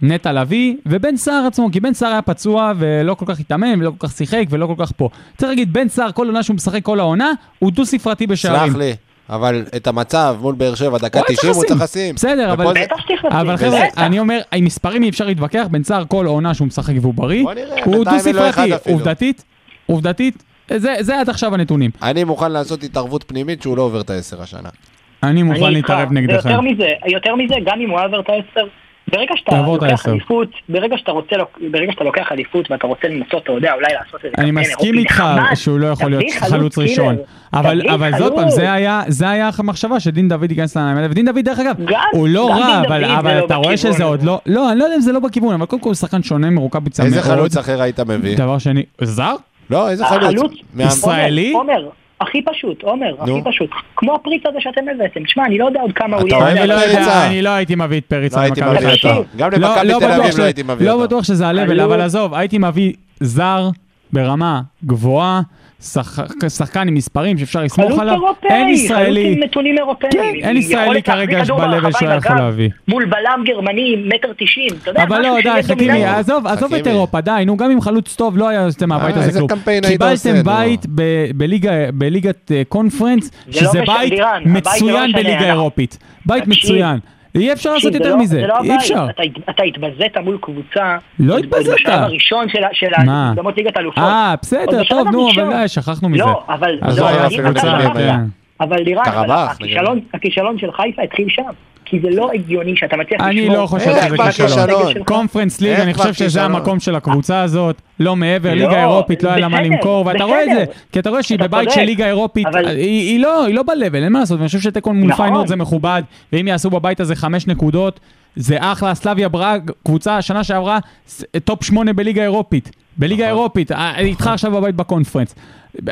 Speaker 4: נטע לביא, ובן סער עצמו, כי בן סער היה פצוע ולא כל כך התאמן, ולא כל כך שיחק, ולא כל כך פה. צריך להגיד, בן סער, כל עונה שהוא משחק כל העונה, הוא דו-ספרתי בשערים.
Speaker 7: סלח לי, אבל את המצב מול באר שבע, דקה
Speaker 4: הוא היה
Speaker 7: 90 הוא צריך לשים.
Speaker 4: בסדר,
Speaker 7: ופה
Speaker 4: אבל...
Speaker 7: זה-
Speaker 6: בטח שצריך
Speaker 4: אבל
Speaker 6: לשים,
Speaker 4: חבר'ה,
Speaker 6: בטח.
Speaker 4: אני אומר, עם מספרים אי אפשר להתווכח, בן סער כל עונה שהוא משחק והוא בריא,
Speaker 7: בוא נראה,
Speaker 4: הוא
Speaker 7: בינתיים אין לו אחד
Speaker 4: דו-ספרתי,
Speaker 7: אפילו.
Speaker 4: עובדתית, עובדתית, זה זה עד עכשיו הנתונים.
Speaker 7: אני מוכן לעשות התערבות פנימית שהוא לא עובר את העשר השנה.
Speaker 4: אני
Speaker 6: אני
Speaker 4: מוכן
Speaker 6: איתך.
Speaker 4: להתערב נגדך.
Speaker 6: ויותר מזה, יותר מזה, גם אם הוא עבר את העשר, ברגע שאתה
Speaker 4: תעבור את
Speaker 6: לוקח
Speaker 4: העשר.
Speaker 6: אליפות, ברגע שאתה רוצה, לוק- ברגע שאתה לוקח אליפות ואתה רוצה למצוא, אתה יודע, אולי לעשות איזה
Speaker 4: אני
Speaker 6: קמפיין
Speaker 4: מסכים
Speaker 6: אירופי
Speaker 4: איתך
Speaker 6: נחמד,
Speaker 4: שהוא לא יכול להיות
Speaker 6: אוקיי, תביא
Speaker 4: חלוץ ראשון.
Speaker 6: קילר,
Speaker 4: אבל
Speaker 6: תביא
Speaker 4: אבל זאת פעם,
Speaker 6: חלוץ.
Speaker 4: זה היה- זה היה המחשבה שדין דוד ייכנס לעניין האלה, ודין דוד דרך אגב,
Speaker 6: גם-
Speaker 4: הוא לא
Speaker 6: גם
Speaker 4: רע,
Speaker 6: דין
Speaker 4: אבל
Speaker 6: דוד זה
Speaker 4: אבל
Speaker 6: לא
Speaker 4: אתה רואה
Speaker 6: בכיוון.
Speaker 4: שזה עוד לא, לא, אני לא יודע אם זה לא בכיוון, אבל קודם כל הוא שחקן שונה מרוקאביצה מאוד.
Speaker 7: איזה חלוץ אחר היית מביא?
Speaker 4: דבר שני, זר?
Speaker 7: לא, איזה חלוץ?
Speaker 6: החלוץ-
Speaker 7: מה-
Speaker 4: ישראל. ישראלי?
Speaker 6: עומר, עומר, הכי פשוט, עומר,
Speaker 7: נו.
Speaker 6: הכי פשוט. כמו הפריץ הזה שאתם הבאתם. תשמע, אני לא יודע עוד כמה הוא
Speaker 7: אתה
Speaker 6: יהיה.
Speaker 7: אוהב
Speaker 4: אני לא
Speaker 7: את
Speaker 4: יודע,
Speaker 7: פריצה.
Speaker 4: אני לא הייתי מביא את
Speaker 7: לא
Speaker 4: פריצה
Speaker 7: הייתי
Speaker 4: למכבי
Speaker 7: מביא
Speaker 4: חיפה.
Speaker 7: אותו. גם למכבי
Speaker 4: לא
Speaker 7: תל
Speaker 4: בטוח
Speaker 7: אביב
Speaker 4: ש-
Speaker 7: לא הייתי מביא
Speaker 4: לא
Speaker 7: אותו.
Speaker 4: בטוח שזה הלבל,
Speaker 6: היו-
Speaker 4: אבל עזוב, הייתי מביא זר ברמה גבוהה, שחק- שחקן עם מספרים שאפשר
Speaker 6: חלוץ
Speaker 4: לסמוך עליו.
Speaker 6: אירופאי,
Speaker 4: אין
Speaker 6: חלוץ
Speaker 4: ישראלי.
Speaker 6: עם נתונים אירופאים.
Speaker 4: כן, אין
Speaker 6: יכולת
Speaker 4: ישראלי כרגע
Speaker 6: להחזיק כדור
Speaker 4: בלבל
Speaker 6: ברחבה
Speaker 4: שהוא
Speaker 6: עם
Speaker 4: יכול
Speaker 6: הגב
Speaker 4: להביא.
Speaker 6: מול בלם גרמני, מטר תשעים, אתה יודע,
Speaker 4: אבל
Speaker 6: משהו
Speaker 4: לא, די,
Speaker 6: שיהיה
Speaker 4: חכימי,
Speaker 6: דומיננטי.
Speaker 4: עזוב, עזוב את
Speaker 7: חכימי.
Speaker 4: אירופה, די, נו, גם אם חלוץ טוב לא היה יוצא מהבית
Speaker 7: אה,
Speaker 4: הזה
Speaker 7: איזה
Speaker 4: כלום.
Speaker 7: קמפיין היית
Speaker 4: קיבלתם
Speaker 7: עושה,
Speaker 4: בית ב- בליגה- בליגת אה, קונפרנס,
Speaker 6: לא
Speaker 4: שזה
Speaker 6: משנה,
Speaker 4: בית
Speaker 6: לירן, הבית זה לא
Speaker 4: מצוין
Speaker 6: משנה,
Speaker 4: בליגה
Speaker 6: אנחנו-
Speaker 4: אירופית. בית
Speaker 6: תקשיב,
Speaker 4: מצוין. אי אפשר לעשות
Speaker 6: זה
Speaker 4: יותר
Speaker 6: לא-
Speaker 4: מזה,
Speaker 6: זה לא
Speaker 4: אי
Speaker 6: הבית.
Speaker 4: אפשר.
Speaker 6: אתה הת- אתה התבזית מול קבוצה.
Speaker 4: לא
Speaker 6: עוד- עוד
Speaker 4: התבזית.
Speaker 6: בשלב הראשון של ה- של
Speaker 4: מה?
Speaker 6: המוקדמות ליגת אלופות.
Speaker 4: אה,
Speaker 6: עוד
Speaker 4: בסדר,
Speaker 6: בשלב
Speaker 4: טוב, נו,
Speaker 6: הראשון.
Speaker 4: אבל די, שכחנו מזה.
Speaker 6: לא, אבל
Speaker 4: אז
Speaker 6: לא,
Speaker 4: לא היה
Speaker 6: אבל
Speaker 4: אפילו
Speaker 6: אתה
Speaker 4: צעד,
Speaker 6: שכחת.
Speaker 4: כן.
Speaker 6: אבל לירן, אבל
Speaker 7: קרבח,
Speaker 6: הכישלון- הכישלון של חיפה התחיל שם. כי זה לא הגיוני שאתה מצליח לשמור.
Speaker 4: אני לא חושב
Speaker 7: איך
Speaker 4: שזה
Speaker 7: כבר
Speaker 4: כישלון.
Speaker 7: כישלון?
Speaker 4: קונפרנס ליג,
Speaker 7: איך
Speaker 4: אני
Speaker 7: כבר
Speaker 4: חושב שזה
Speaker 7: כישלון?
Speaker 4: המקום של הקבוצה הזאת, לא מעבר,
Speaker 6: לא,
Speaker 4: ליגה אירופית לא היה לה מה
Speaker 6: בסדר,
Speaker 4: למכור, ואתה רואה את זה,
Speaker 6: בסדר.
Speaker 4: כי אתה רואה שהיא
Speaker 6: אתה
Speaker 4: בבית
Speaker 6: צודק,
Speaker 4: של ליגה אירופית,
Speaker 6: אבל-
Speaker 4: היא- היא לא, היא לא ב-level, אין מה לעשות, ואני חושב שתיקו מול
Speaker 6: נכון.
Speaker 4: פיינורד זה מכובד, ואם יעשו בבית הזה חמש נקודות, זה אחלה, סלאביה בראג, קבוצה שנה שעברה ס- טופ שמונה בליגה אירופית. בליגה
Speaker 6: נכון.
Speaker 4: האירופית, אה, איתך עכשיו בבית בקונפרנס. ב-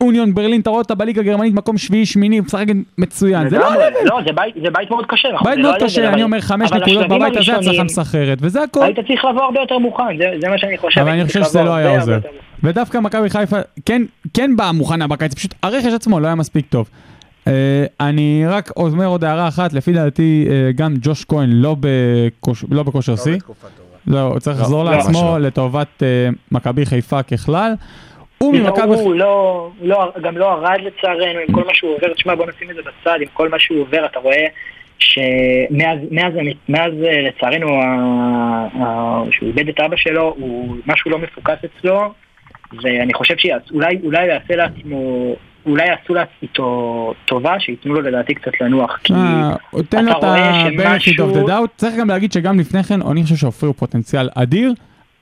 Speaker 4: אוניון ברלין, אתה רואה אותה בליגה הגרמנית, מקום שביעי, שמיני, משחקת מצוין. זה לא
Speaker 6: לגמרי,
Speaker 4: ה-level.
Speaker 6: לא, זה בית- זה בית מאוד קשה. נכון?
Speaker 4: בית
Speaker 6: זה לא
Speaker 4: מאוד
Speaker 6: ה-level,
Speaker 4: קשה,
Speaker 6: אבל-
Speaker 4: אני אומר חמש
Speaker 6: אבל
Speaker 4: נקודות
Speaker 6: השלבים
Speaker 4: בבית הזה, הצלחה
Speaker 6: הראשונים,
Speaker 4: מסחררת, וזה הכל.
Speaker 6: היית צריך לבוא הרבה יותר מוכן, זה- זה מה שאני חושב.
Speaker 4: אבל
Speaker 6: היית
Speaker 4: אני חושב
Speaker 6: צריך
Speaker 4: שזה
Speaker 6: לבוא
Speaker 4: לא
Speaker 6: הרבה
Speaker 4: היה
Speaker 6: הרבה
Speaker 4: עוזר.
Speaker 6: יותר מוכן.
Speaker 4: ודווקא מכבי חיפה כן, כן באה מוכנה בקיץ, פשוט הרכש עצמו לא היה מספיק טוב. Uh, אני רק אומר עוד הערה אחת, לפי דעתי uh, גם ג'וש כהן לא בכוש- לא בכושר שיא. לא, הוא צריך לחזור
Speaker 7: לא,
Speaker 4: לעצמו
Speaker 7: ממש
Speaker 4: לטובת uh, מכבי חיפה ככלל. הוא
Speaker 6: לא,
Speaker 4: ממכבי...
Speaker 6: הוא לא, הוא לא, גם לא ערד לצערנו עם כל מה שהוא עובר, תשמע בוא נשים את זה בצד, עם כל מה שהוא עובר אתה רואה שמאז מאז, מאז, אה, לצערנו ה- ה- שהוא איבד את אבא שלו, הוא משהו לא מפוקס אצלו ואני חושב שאולי אולי יעשה לעצמו, אולי יעשו לעצמו טובה שייתנו לו לדעתי קצת לנוח כי
Speaker 4: אה, תן לו
Speaker 6: אתה
Speaker 4: את
Speaker 6: רואה
Speaker 4: ה-benefit
Speaker 6: שמשהו-
Speaker 4: of the doubt. צריך גם להגיד שגם לפני כן, אני חושב שאופיר הוא פוטנציאל אדיר.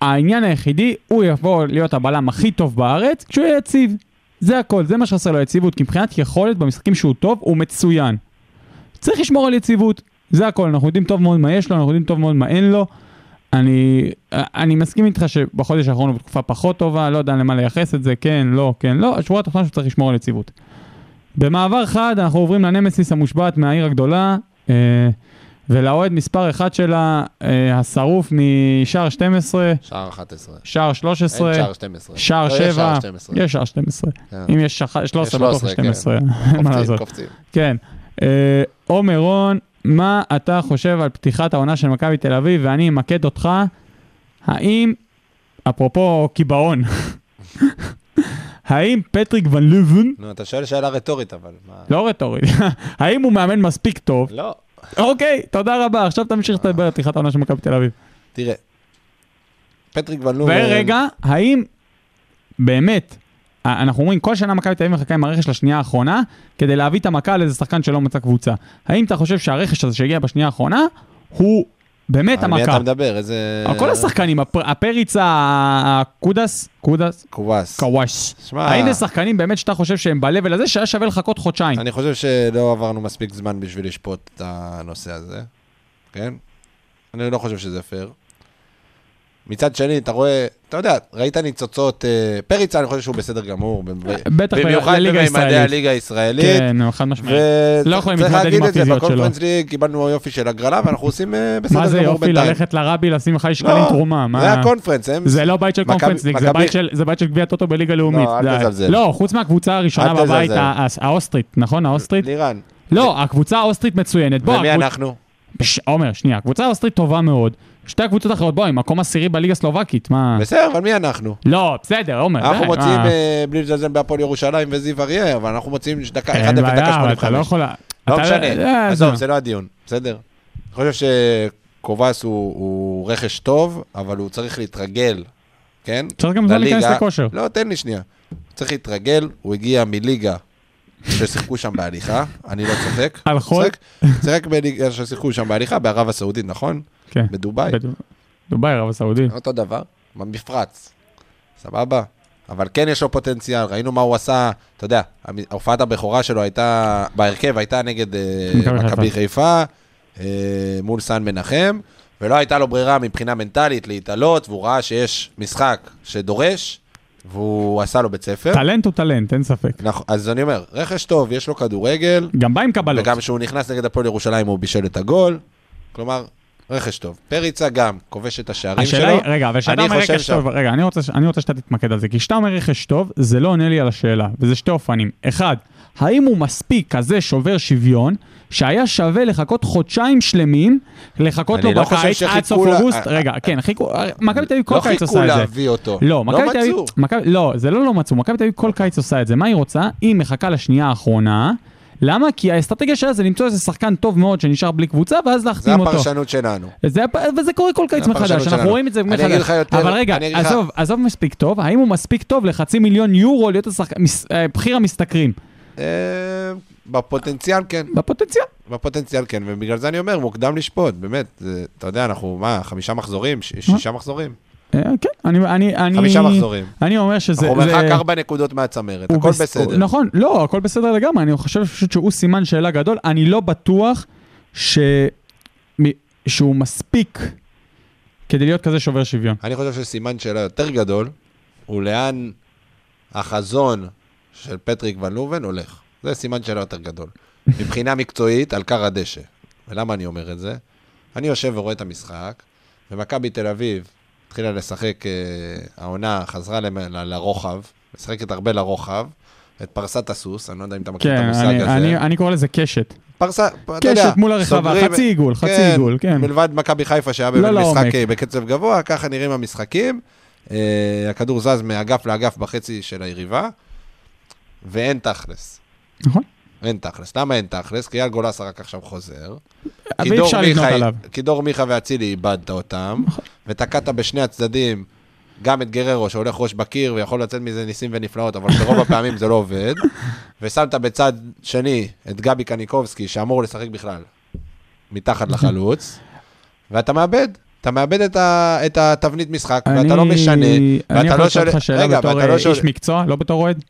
Speaker 4: העניין היחידי, הוא יבוא להיות הבלם הכי טוב בארץ כשהוא יהיה יציב. זה הכל, זה מה שחסר לו יציבות, כי מבחינת יכולת במשחקים שהוא טוב, הוא מצוין. צריך לשמור על יציבות, זה הכל, אנחנו יודעים טוב מאוד מה יש לו, אנחנו יודעים טוב מאוד מה אין לו. אני, אני מסכים איתך שבחודש האחרון הוא בתקופה פחות טובה, לא יודע למה לייחס את זה, כן, לא, כן, לא, השבוע התחתון שהוא צריך לשמור על יציבות. במעבר חד אנחנו עוברים לנמסיס המושבעת מהעיר הגדולה, אה, ולאוהד מספר אחת שלה, אה, השרוף משער 12,
Speaker 7: שער 11.
Speaker 4: שער 13,
Speaker 7: אין שער 12.
Speaker 4: שער
Speaker 7: לא, יש
Speaker 4: 7,
Speaker 7: 12.
Speaker 4: יש שער 12,
Speaker 7: כן.
Speaker 4: אם יש שח- 13 בטוח יש
Speaker 7: 13, כן.
Speaker 4: 12, מה
Speaker 7: קופצים,
Speaker 4: לעשות,
Speaker 7: קופצים.
Speaker 4: כן. אה, עומר רון, מה אתה חושב על פתיחת העונה של מכבי תל אביב, ואני אמקד אותך, האם, אפרופו קיבעון, האם פטריק ון לובן
Speaker 7: נו, אתה שואל שאלה רטורית, אבל מה...
Speaker 4: לא רטורית, האם הוא מאמן מספיק טוב?
Speaker 7: לא.
Speaker 4: אוקיי, תודה רבה, עכשיו תמשיך לדבר על פתיחת העונה של מכבי תל אביב.
Speaker 7: תראה, פטריק ון לובן...
Speaker 4: ורגע, האם באמת, אה, אנחנו אומרים כל שנה מכבי תל אביב מחכה עם הרכש לשנייה האחרונה, כדי להביא את המכה על איזה שחקן שלא מצא קבוצה. האם אתה חושב שהרכש הזה שהגיע בשנייה האחרונה, הוא באמת
Speaker 7: על מי
Speaker 4: המכה?
Speaker 7: אתה מדבר? איזה...
Speaker 4: אבל כל השחקנים, הפר- הפריצה, הקודס, קודס,
Speaker 7: קובס.
Speaker 4: קוואש.
Speaker 7: שמע.
Speaker 4: האם זה שחקנים באמת שאתה חושב שהם ב-level הזה, שהיה שווה לחכות חודשיים?
Speaker 7: אני חושב שלא עברנו מספיק זמן בשביל לשפוט את הנושא הזה, כן? אני לא חושב שזה פייר.
Speaker 5: מצד שני, אתה רואה, אתה יודע, ראית ניצוצות, אה, פריצה, אני חושב שהוא בסדר גמור. ב- ב-
Speaker 4: אה, בטח ב-
Speaker 5: במיוחד
Speaker 4: לליגה
Speaker 5: בממדי
Speaker 4: הישראלית.
Speaker 5: הליגה הישראלית.
Speaker 4: כן, נו, חד משמעית. לא יכולים
Speaker 5: וצריך
Speaker 4: להתמודד עם
Speaker 5: להגיד את זה,
Speaker 4: הפיזיות שלו.
Speaker 5: בקונפרנס ליג קיבלנו יופי של הגרלה, ואנחנו עושים אה, בסדר גמור
Speaker 4: מה זה
Speaker 5: בינתיים.
Speaker 4: יופי ללכת לרבי, לשים לך שקלים
Speaker 5: לא,
Speaker 4: תרומה? מה-
Speaker 5: זה הקונפרנס, הם...
Speaker 4: זה לא בית של
Speaker 5: מכבי-
Speaker 4: קונפרנס ליג, זה
Speaker 5: מכבי-
Speaker 4: בית של- זה בית של גביע טוטו בליגה לאומית.
Speaker 5: אל
Speaker 4: די.
Speaker 5: תזלזל.
Speaker 4: לא, חוץ מהקבוצה הראשונה
Speaker 5: אל
Speaker 4: בבית,
Speaker 5: תזלזל.
Speaker 4: ה- ה- האוסטרית, נכון? האוסטרית?
Speaker 5: לירן,
Speaker 4: לא, הקבוצה האוסטרית מצוינת. בוא,
Speaker 5: ומי
Speaker 4: הקבוצ-
Speaker 5: אנחנו?
Speaker 4: פש, עומר, שנייה, הקבוצה האוסטרית טובה מאוד. שתי הקבוצות האחרות, בואי, מקום עשירי בליגה הסלובקית, מה...
Speaker 5: בסדר, אבל מי אנחנו?
Speaker 4: לא, בסדר, עומר, די,
Speaker 5: אנחנו
Speaker 4: מה?
Speaker 5: מוציאים, אה, בלי לזלזל בהפועל ירושלים וזיו אריה, אבל אנחנו מוציאים דקה 1-0
Speaker 4: אין
Speaker 5: דקה
Speaker 4: בעיה, אבל אתה לא
Speaker 5: 85.
Speaker 4: יכול...
Speaker 5: לא
Speaker 4: אתה-
Speaker 5: משנה,
Speaker 4: אה,
Speaker 5: עזוב,
Speaker 4: זה-
Speaker 5: זה לא הדיון, בסדר? אני חושב שקובס הוא- הוא רכש טוב, אבל הוא צריך להתרגל, כן?
Speaker 4: צריך גם זמן להיכנס
Speaker 5: לליגה.
Speaker 4: לכושר.
Speaker 5: לא, תן לי שנייה. צריך להתרגל, הוא הגיע מליגה ששיחקו שם בהליכה, אני לא צוחק.
Speaker 4: על חול?
Speaker 5: צוחק. שיחק בליגה ששיחקו שם בהליכה, בערב הסעודית, נכון?
Speaker 4: כן.
Speaker 5: בדובאי.
Speaker 4: בדו- דובאי, ערב הסעודי.
Speaker 5: אותו דבר, במפרץ, סבבה? אבל כן יש לו פוטנציאל, ראינו מה הוא עשה, אתה יודע, המ- הופעת הבכורה שלו הייתה, בהרכב הייתה נגד אה,
Speaker 4: מכבי
Speaker 5: מכבי חיפה, אה, מול סן מנחם, ולא הייתה לו ברירה מבחינה מנטלית להתעלות, והוא ראה שיש משחק שדורש, והוא עשה לו בית ספר.
Speaker 4: טלנט הוא טלנט, אין ספק.
Speaker 5: נכון, אז אני אומר, רכש טוב, יש לו כדורגל,
Speaker 4: גם בא עם קבלות.
Speaker 5: וגם כשהוא נכנס נגד הפועל ירושלים הוא בישל את הגול, כלומר, רכש טוב. פריצה גם כובש את השערים
Speaker 4: השאלה
Speaker 5: שלו.
Speaker 4: היא, רגע, אבל כשאתה
Speaker 5: אני
Speaker 4: אומר
Speaker 5: חושב
Speaker 4: רכש
Speaker 5: שה-
Speaker 4: טוב, רגע, אני רוצה, ש- אני רוצה שאתה תתמקד על זה, כי כשאתה אומר רכש טוב, זה לא עונה לי על השאלה, וזה שתי אופנים. אחד, האם הוא מספיק כזה שובר שוויון, שהיה שווה לחכות חודשיים שלמים, לחכות
Speaker 5: אני
Speaker 4: לו
Speaker 5: לא
Speaker 4: בקיץ
Speaker 5: חושב
Speaker 4: עד סוף
Speaker 5: שחיכו לה-
Speaker 4: אוגוסט,
Speaker 5: אה,
Speaker 4: רגע, כן, חיכו, אה, מכבי תל אביב כל
Speaker 5: לא
Speaker 4: קיץ
Speaker 5: חיכו
Speaker 4: עושה את זה.
Speaker 5: להביא אותו.
Speaker 4: לא, מכבי תל אביב...
Speaker 5: מצאו.
Speaker 4: מכבי- לא, זה לא לא מצאו, מכבי תל אביב כל קיץ עושה את זה. מה היא רוצה? היא מחכה לשנייה האחרונה. למה? כי האסטרטגיה שלה זה למצוא איזה שחקן טוב מאוד שנשאר בלי קבוצה, ואז
Speaker 5: זה
Speaker 4: להחתים אותו.
Speaker 5: הפרשנות שלנו.
Speaker 4: זה, הפ- וזה קורה כל קיץ
Speaker 5: זה הפרשנות
Speaker 4: מחדש, אנחנו
Speaker 5: שלנו.
Speaker 4: רואים את זה
Speaker 5: אני
Speaker 4: מחדש.
Speaker 5: אגיד לך יותר-
Speaker 4: אבל רגע,
Speaker 5: אני אגיד לך-
Speaker 4: עזוב, עזוב מספיק טוב, האם הוא מספיק טוב לחצי מיליון יורו להיות השחק- מס- אה, בכיר המשתכרים?
Speaker 5: אה, בפוטנציאל כן,
Speaker 4: בפוטנציאל.
Speaker 5: בפוטנציאל כן, ובגלל זה אני אומר, מוקדם לשפוט, באמת. זה- אתה יודע, אנחנו, מה, חמישה מחזורים? ש- שישה מחזורים?
Speaker 4: אה, כן, אני... אני, אני
Speaker 5: חמישה מחזורים.
Speaker 4: אני אומר שזה...
Speaker 5: אנחנו
Speaker 4: זה-
Speaker 5: מרחק ארבע נקודות מהצמרת,
Speaker 4: הוא
Speaker 5: הכל
Speaker 4: בס-
Speaker 5: בסדר.
Speaker 4: נכון, לא, הכל בסדר לגמרי, אני חושב פשוט שהוא סימן שאלה גדול. אני לא בטוח ש... מ- שהוא מספיק כדי להיות כזה שובר שוויון.
Speaker 5: אני חושב שסימן שאלה יותר גדול, הוא לאן החזון של פטריק ון לובן הולך. זה סימן שאלה יותר גדול. מבחינה מקצועית, על כר הדשא. ולמה אני אומר את זה? אני יושב ורואה את המשחק, ומכבי תל אביב התחילה לשחק, אה, העונה חזרה למ- ל- לרוחב, משחקת הרבה לרוחב, את פרסת הסוס, אני לא יודע אם אתה מכיר את
Speaker 4: כן,
Speaker 5: המושג
Speaker 4: אני,
Speaker 5: הזה.
Speaker 4: אני, אני קורא לזה קשת.
Speaker 5: פרסה, אתה
Speaker 4: קשת
Speaker 5: יודע,
Speaker 4: מול הרחבה,
Speaker 5: סוגרים-
Speaker 4: חצי עיגול, חצי
Speaker 5: כן,
Speaker 4: עיגול, כן.
Speaker 5: מלבד מכבי חיפה שהיה
Speaker 4: לא
Speaker 5: באמת
Speaker 4: לעומק.
Speaker 5: משחק אה, בקצב גבוה, ככה נראים המשחקים. אה, הכדור זז מאגף לאגף בחצי של היריבה, ואין תכלס.
Speaker 4: נכון.
Speaker 5: אין תכלס. למה אין תכלס? כי אייל גולסה רק עכשיו חוזר.
Speaker 4: אבל
Speaker 5: כי
Speaker 4: אי
Speaker 5: דור
Speaker 4: אפשר לבנות
Speaker 5: מיכה-
Speaker 4: עליו. נכון.
Speaker 5: כי דור מיכה ואצילי איבדת אותם, ותקעת בשני הצדדים גם את גררו שהולך ראש בקיר ויכול לצאת מזה ניסים ונפלאות, אבל ברוב הפעמים זה לא עובד, ושמת בצד שני את גבי קניקובסקי שאמור לשחק בכלל מתחת לחלוץ, ואתה מאבד. אתה מאבד את, ה, את התבנית משחק, ואתה לא משנה, ואתה
Speaker 4: אני יכול
Speaker 5: לא
Speaker 4: לשאול אותך
Speaker 5: שואל-
Speaker 4: שאלה
Speaker 5: רגע,
Speaker 4: בתור
Speaker 5: ואתה
Speaker 4: אה,
Speaker 5: לא שואל-
Speaker 4: איש מקצוע, לא בתור אוהד?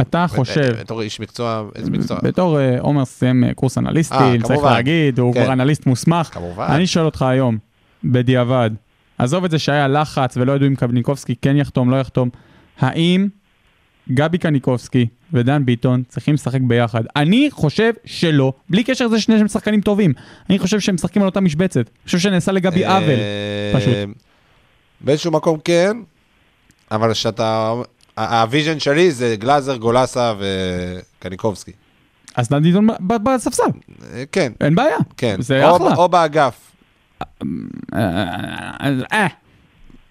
Speaker 4: אתה חושב,
Speaker 5: בתור איש מקצוע, איזה מקצוע?
Speaker 4: בתור אה, עומר סיים אה, קורס
Speaker 5: אה,
Speaker 4: אנליסטי, צריך
Speaker 5: כמובן.
Speaker 4: להגיד, הוא
Speaker 5: כן.
Speaker 4: כבר אנליסט מוסמך.
Speaker 5: כמובן.
Speaker 4: אני שואל אותך היום, בדיעבד, עזוב את זה שהיה לחץ ולא ידעו אם קניקובסקי כן יחתום, לא יחתום, האם גבי קניקובסקי ודן ביטון צריכים לשחק ביחד? אני חושב שלא, בלי קשר לזה שני שהם שחקנים טובים. אני חושב שהם משחקים על אותה משבצת. אני חושב שנעשה לגבי
Speaker 5: אה,
Speaker 4: עוול. פשוט.
Speaker 5: באיזשהו מקום כן, אבל שאתה... ה- הוויז'ן שלי זה גלאזר, גולסה וקניקובסקי.
Speaker 4: אז דן ביטון ב- ב- בספסל,
Speaker 5: אה, כן,
Speaker 4: אין בעיה.
Speaker 5: כן.
Speaker 4: זה
Speaker 5: או-
Speaker 4: אחלה.
Speaker 5: או באגף.
Speaker 4: אה,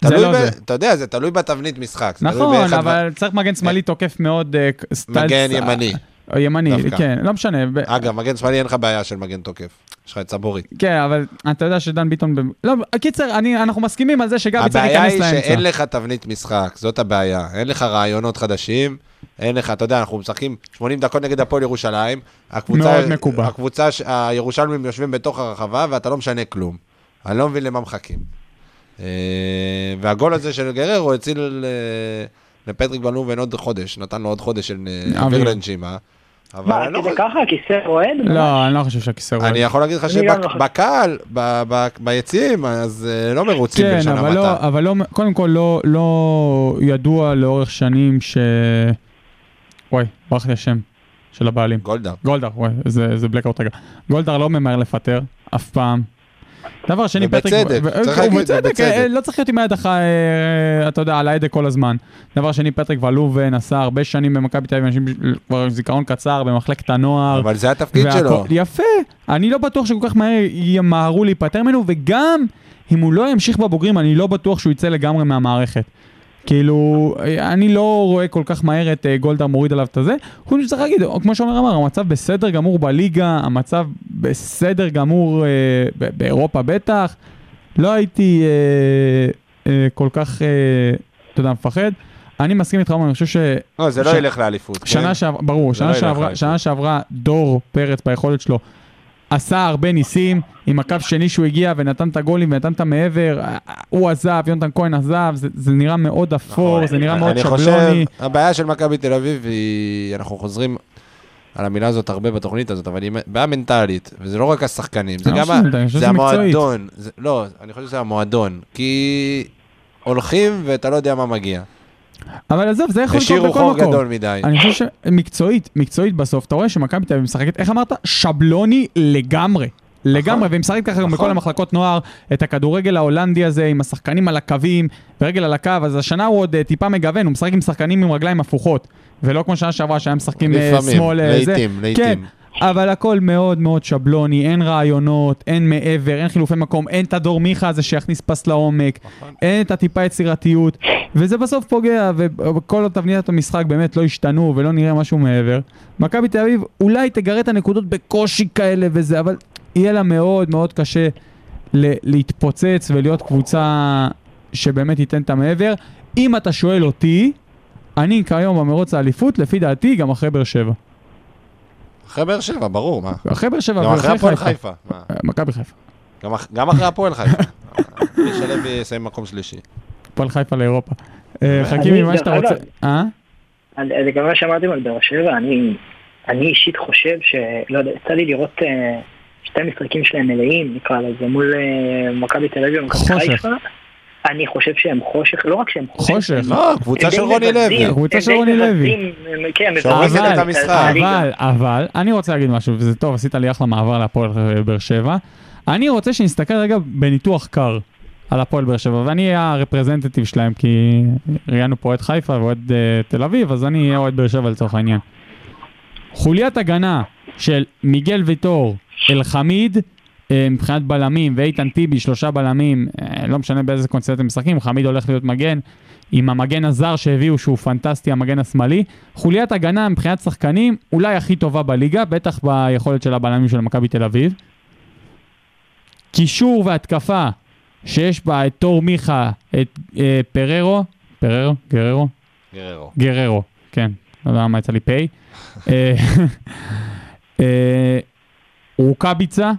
Speaker 4: זה
Speaker 5: תלוי
Speaker 4: לא
Speaker 5: ב-
Speaker 4: זה.
Speaker 5: אתה יודע, זה תלוי בתבנית משחק. זה תלוי
Speaker 4: נכון,
Speaker 5: באחד
Speaker 4: אבל צריך מגן שמאלי תוקף מאוד אה, ק-
Speaker 5: מה-
Speaker 4: סטייל...
Speaker 5: מגן
Speaker 4: אה,
Speaker 5: ימני.
Speaker 4: או ימני,
Speaker 5: דווקא. אה,
Speaker 4: כן, לא משנה. ב-
Speaker 5: אגב, מגן שמאלי אין לך בעיה של מגן תוקף. יש לך את סבורי.
Speaker 4: כן, אבל אתה יודע שדן ביטון... ב- לא, קיצר, אני- אנחנו מסכימים על זה שגבי צריך
Speaker 5: הבעיה
Speaker 4: להיכנס
Speaker 5: היא
Speaker 4: לאמצע.
Speaker 5: שאין לך תבנית משחק, זאת הבעיה. אין לך רעיונות חדשים, אין לך, אתה יודע, אנחנו משחקים 80 דקות נגד הפועל ירושלים. הקבוצה,
Speaker 4: מאוד מקובע.
Speaker 5: הקבוצה, ש- הירושלמים יושבים בתוך הרחבה ואתה לא משנה כלום. אני לא מבין למה מחכים. אה, והגול הזה של גררו הציל אה, לפטריק בנובן עוד חודש, נתן לו עוד חודש של אה,
Speaker 4: אוויר.
Speaker 5: אוויר לנשימה. אבל
Speaker 6: מה,
Speaker 5: אני לא
Speaker 6: כדי
Speaker 5: חושב-
Speaker 6: ככה? הכיסא רועד?
Speaker 4: לא, אני לא חושב שהכיסא רועד.
Speaker 5: אני יכול להגיד לך
Speaker 6: אני גם לא חושב.
Speaker 5: שבקהל, ב- ב- ביציעים, אז אה, לא מרוצים
Speaker 4: כן,
Speaker 5: בלשון
Speaker 4: אבל לא,
Speaker 5: המעטה.
Speaker 4: אבל לא, קודם כל לא, לא ידוע לאורך שנים ש... וואי, ברח לי השם של הבעלים.
Speaker 5: גולדהר.
Speaker 4: גולדהר, וואי, איזה, איזה בלקאוט רגע. גולדהר לא ממהר לפטר, אף פעם. דבר שני,
Speaker 5: ובצדק,
Speaker 4: פטריק...
Speaker 5: צריך
Speaker 4: אה,
Speaker 5: להגיד,
Speaker 4: ובצדק,
Speaker 5: ובצדק.
Speaker 4: אה, לא צריך להיות עם היד אחת, אה, אתה יודע, על ההדק כל הזמן. דבר שני, פטריק ולובן עשה הרבה שנים במכבי תל אביב, אנשים כבר עם זיכרון קצר, במחלקת הנוער.
Speaker 5: אבל זה התפקיד שלו.
Speaker 4: והכל- יפה, אני לא בטוח שכל כך מהר ימהרו להיפטר ממנו, וגם אם הוא לא ימשיך בבוגרים, אני לא בטוח שהוא יצא לגמרי מהמערכת. כאילו, אני לא רואה כל כך מהר את אה, גולדה מוריד עליו את הזה. חוץ מזה צריך להגיד, כמו שאומר אמר, המצב בסדר גמור בליגה, המצב בסדר גמור אה, ב- באירופה בטח. לא הייתי אה, אה, כל כך, אה, אתה יודע, מפחד. אני מסכים איתך, עומר, אני חושב ש...
Speaker 5: לא, זה לא
Speaker 4: ש-
Speaker 5: ילך לאליפות.
Speaker 4: שנה
Speaker 5: כן?
Speaker 4: שעברה, ברור,
Speaker 5: זה
Speaker 4: שנה
Speaker 5: לא ילך
Speaker 4: שעברה,
Speaker 5: לאליפות.
Speaker 4: שנה שעברה דור פרץ ביכולת שלו עשה הרבה ניסים עם הקו שני שהוא הגיע ונתן את הגולים ונתן את המעבר, אה, הוא עזב, יונתן כהן עזב, זה, זה נראה מאוד אפור, זה נראה מאוד
Speaker 5: נכון. אני
Speaker 4: שבלוני.
Speaker 5: חושב, הבעיה של מכבי תל אביב היא, אנחנו חוזרים על המילה הזאת הרבה בתוכנית הזאת, אבל היא בעיה מנטלית, וזה לא רק השחקנים, זה
Speaker 4: אני
Speaker 5: גם
Speaker 4: חושב
Speaker 5: ה-
Speaker 4: שזה- אני חושב
Speaker 5: זה
Speaker 4: שזה מקצועית.
Speaker 5: המועדון. זה- לא, אני חושב שזה המועדון, כי הולכים ואתה לא יודע מה מגיע.
Speaker 4: אבל עזוב, זה יכול לקרות
Speaker 5: השאירו
Speaker 4: בכל
Speaker 5: חור
Speaker 4: מקום.
Speaker 5: גדול מדי.
Speaker 4: אני חושב שמקצועית, מקצועית בסוף, אתה רואה שמכבי תל אביב משחקת, איך אמרת? שבלוני לגמרי.
Speaker 5: נכון.
Speaker 4: לגמרי, והיא משחקת ככה גם בכל המחלקות נוער, את הכדורגל ההולנדי הזה עם השחקנים על הקווים, ורגל על הקו, אז השנה הוא עוד אה, טיפה מגוון, הוא משחק עם שחקנים עם רגליים הפוכות, ולא כמו שנה שעברה שהיה משחקים אה,
Speaker 5: לפעמים,
Speaker 4: שמאל, אה, זה.
Speaker 5: לעיתים, לעיתים.
Speaker 4: כן, אבל הכל מאוד מאוד שבלוני, אין רעיונות, אין מעבר, אין חילופי מקום, אין את הדור מיכה הזה שיכניס פס לעומק, אין את הטיפה יצירתיות, וזה בסוף פוגע, וכל עוד תבניות המשחק באמת לא השתנו ולא נראה משהו מעבר. מכבי תל אביב אולי תגרד את הנקודות בקושי כאלה וזה, אבל יהיה לה מאוד מאוד קשה ל- להתפוצץ ולהיות קבוצה שבאמת תיתן את המעבר. אם אתה שואל אותי, אני כיום במרוץ האליפות, לפי דעתי, גם אחרי באר שבע.
Speaker 5: אחרי באר שבע, ברור, מה?
Speaker 4: אחרי באר שבע
Speaker 5: גם אחרי
Speaker 4: ואחרי
Speaker 5: הפועל
Speaker 4: חיפה.
Speaker 5: חיפה. מה?
Speaker 4: אה, מכבי חיפה.
Speaker 5: גם אח- גם אחרי הפועל חיפה. מישל לוי יסיים מקום שלישי.
Speaker 4: הפועל חיפה לאירופה. אה, חכים
Speaker 6: אני,
Speaker 4: עם מה
Speaker 6: דרך
Speaker 4: שאתה רוצה.
Speaker 6: אגב,
Speaker 4: אה?
Speaker 6: על- לגבי מה שאמרתם על באר שבע, אני, אני אישית חושב ש... לא יודע, יצא לי לראות אה, שתי משחקים שלהם מלאים, נקרא לזה, מול אה, מכבי תל אביב ומכבי
Speaker 4: חושך.
Speaker 6: חיפה. אני חושב שהם חושך, לא רק שהם חושך.
Speaker 4: חושך.
Speaker 5: לא, קבוצה
Speaker 6: הם די
Speaker 5: של רוני לוי.
Speaker 6: מבזים,
Speaker 4: קבוצה
Speaker 6: הם
Speaker 4: של
Speaker 6: די
Speaker 4: רוני לוי.
Speaker 6: מבזים, הם- כן, מבזים
Speaker 5: שהורסת את
Speaker 6: הליגה.
Speaker 5: המשחק.
Speaker 6: הליגה.
Speaker 4: אבל, אבל, אני רוצה להגיד משהו, וזה טוב, עשית לי אחלה מעבר להפועל אה, באר שבע. אני רוצה שנסתכל רגע בניתוח קר על הפועל באר שבע, ואני אהיה הרפרזנטטיב שלהם, כי ראיינו פה אוהד חיפה ואוהד אה, תל אביב, אז אני אהיה אוהד באר שבע לצורך העניין. חוליית הגנה של מיגל ויטור, אלחמיד, אה, מבחינת בלמים, ואיתן טיבי, שלושה בלמים, אה, לא משנה באיזה קונסטנט הם משחקים, חמיד הולך להיות מגן, עם המגן הזר שהביאו שהוא פנטסטי, המגן השמאלי. חוליית הגנה מבחינת שחקנים, אולי הכי טובה בליגה, בטח ביכולת של הבלמים של מכבי תל אביב. קישור והתקפה, שיש בה את תור מיכה, את אה, פררו, פררו? גררו?
Speaker 5: גררו.
Speaker 4: גררו, כן, לא יודע למה יצא לי פיי. אה, אה, רוקאביצה,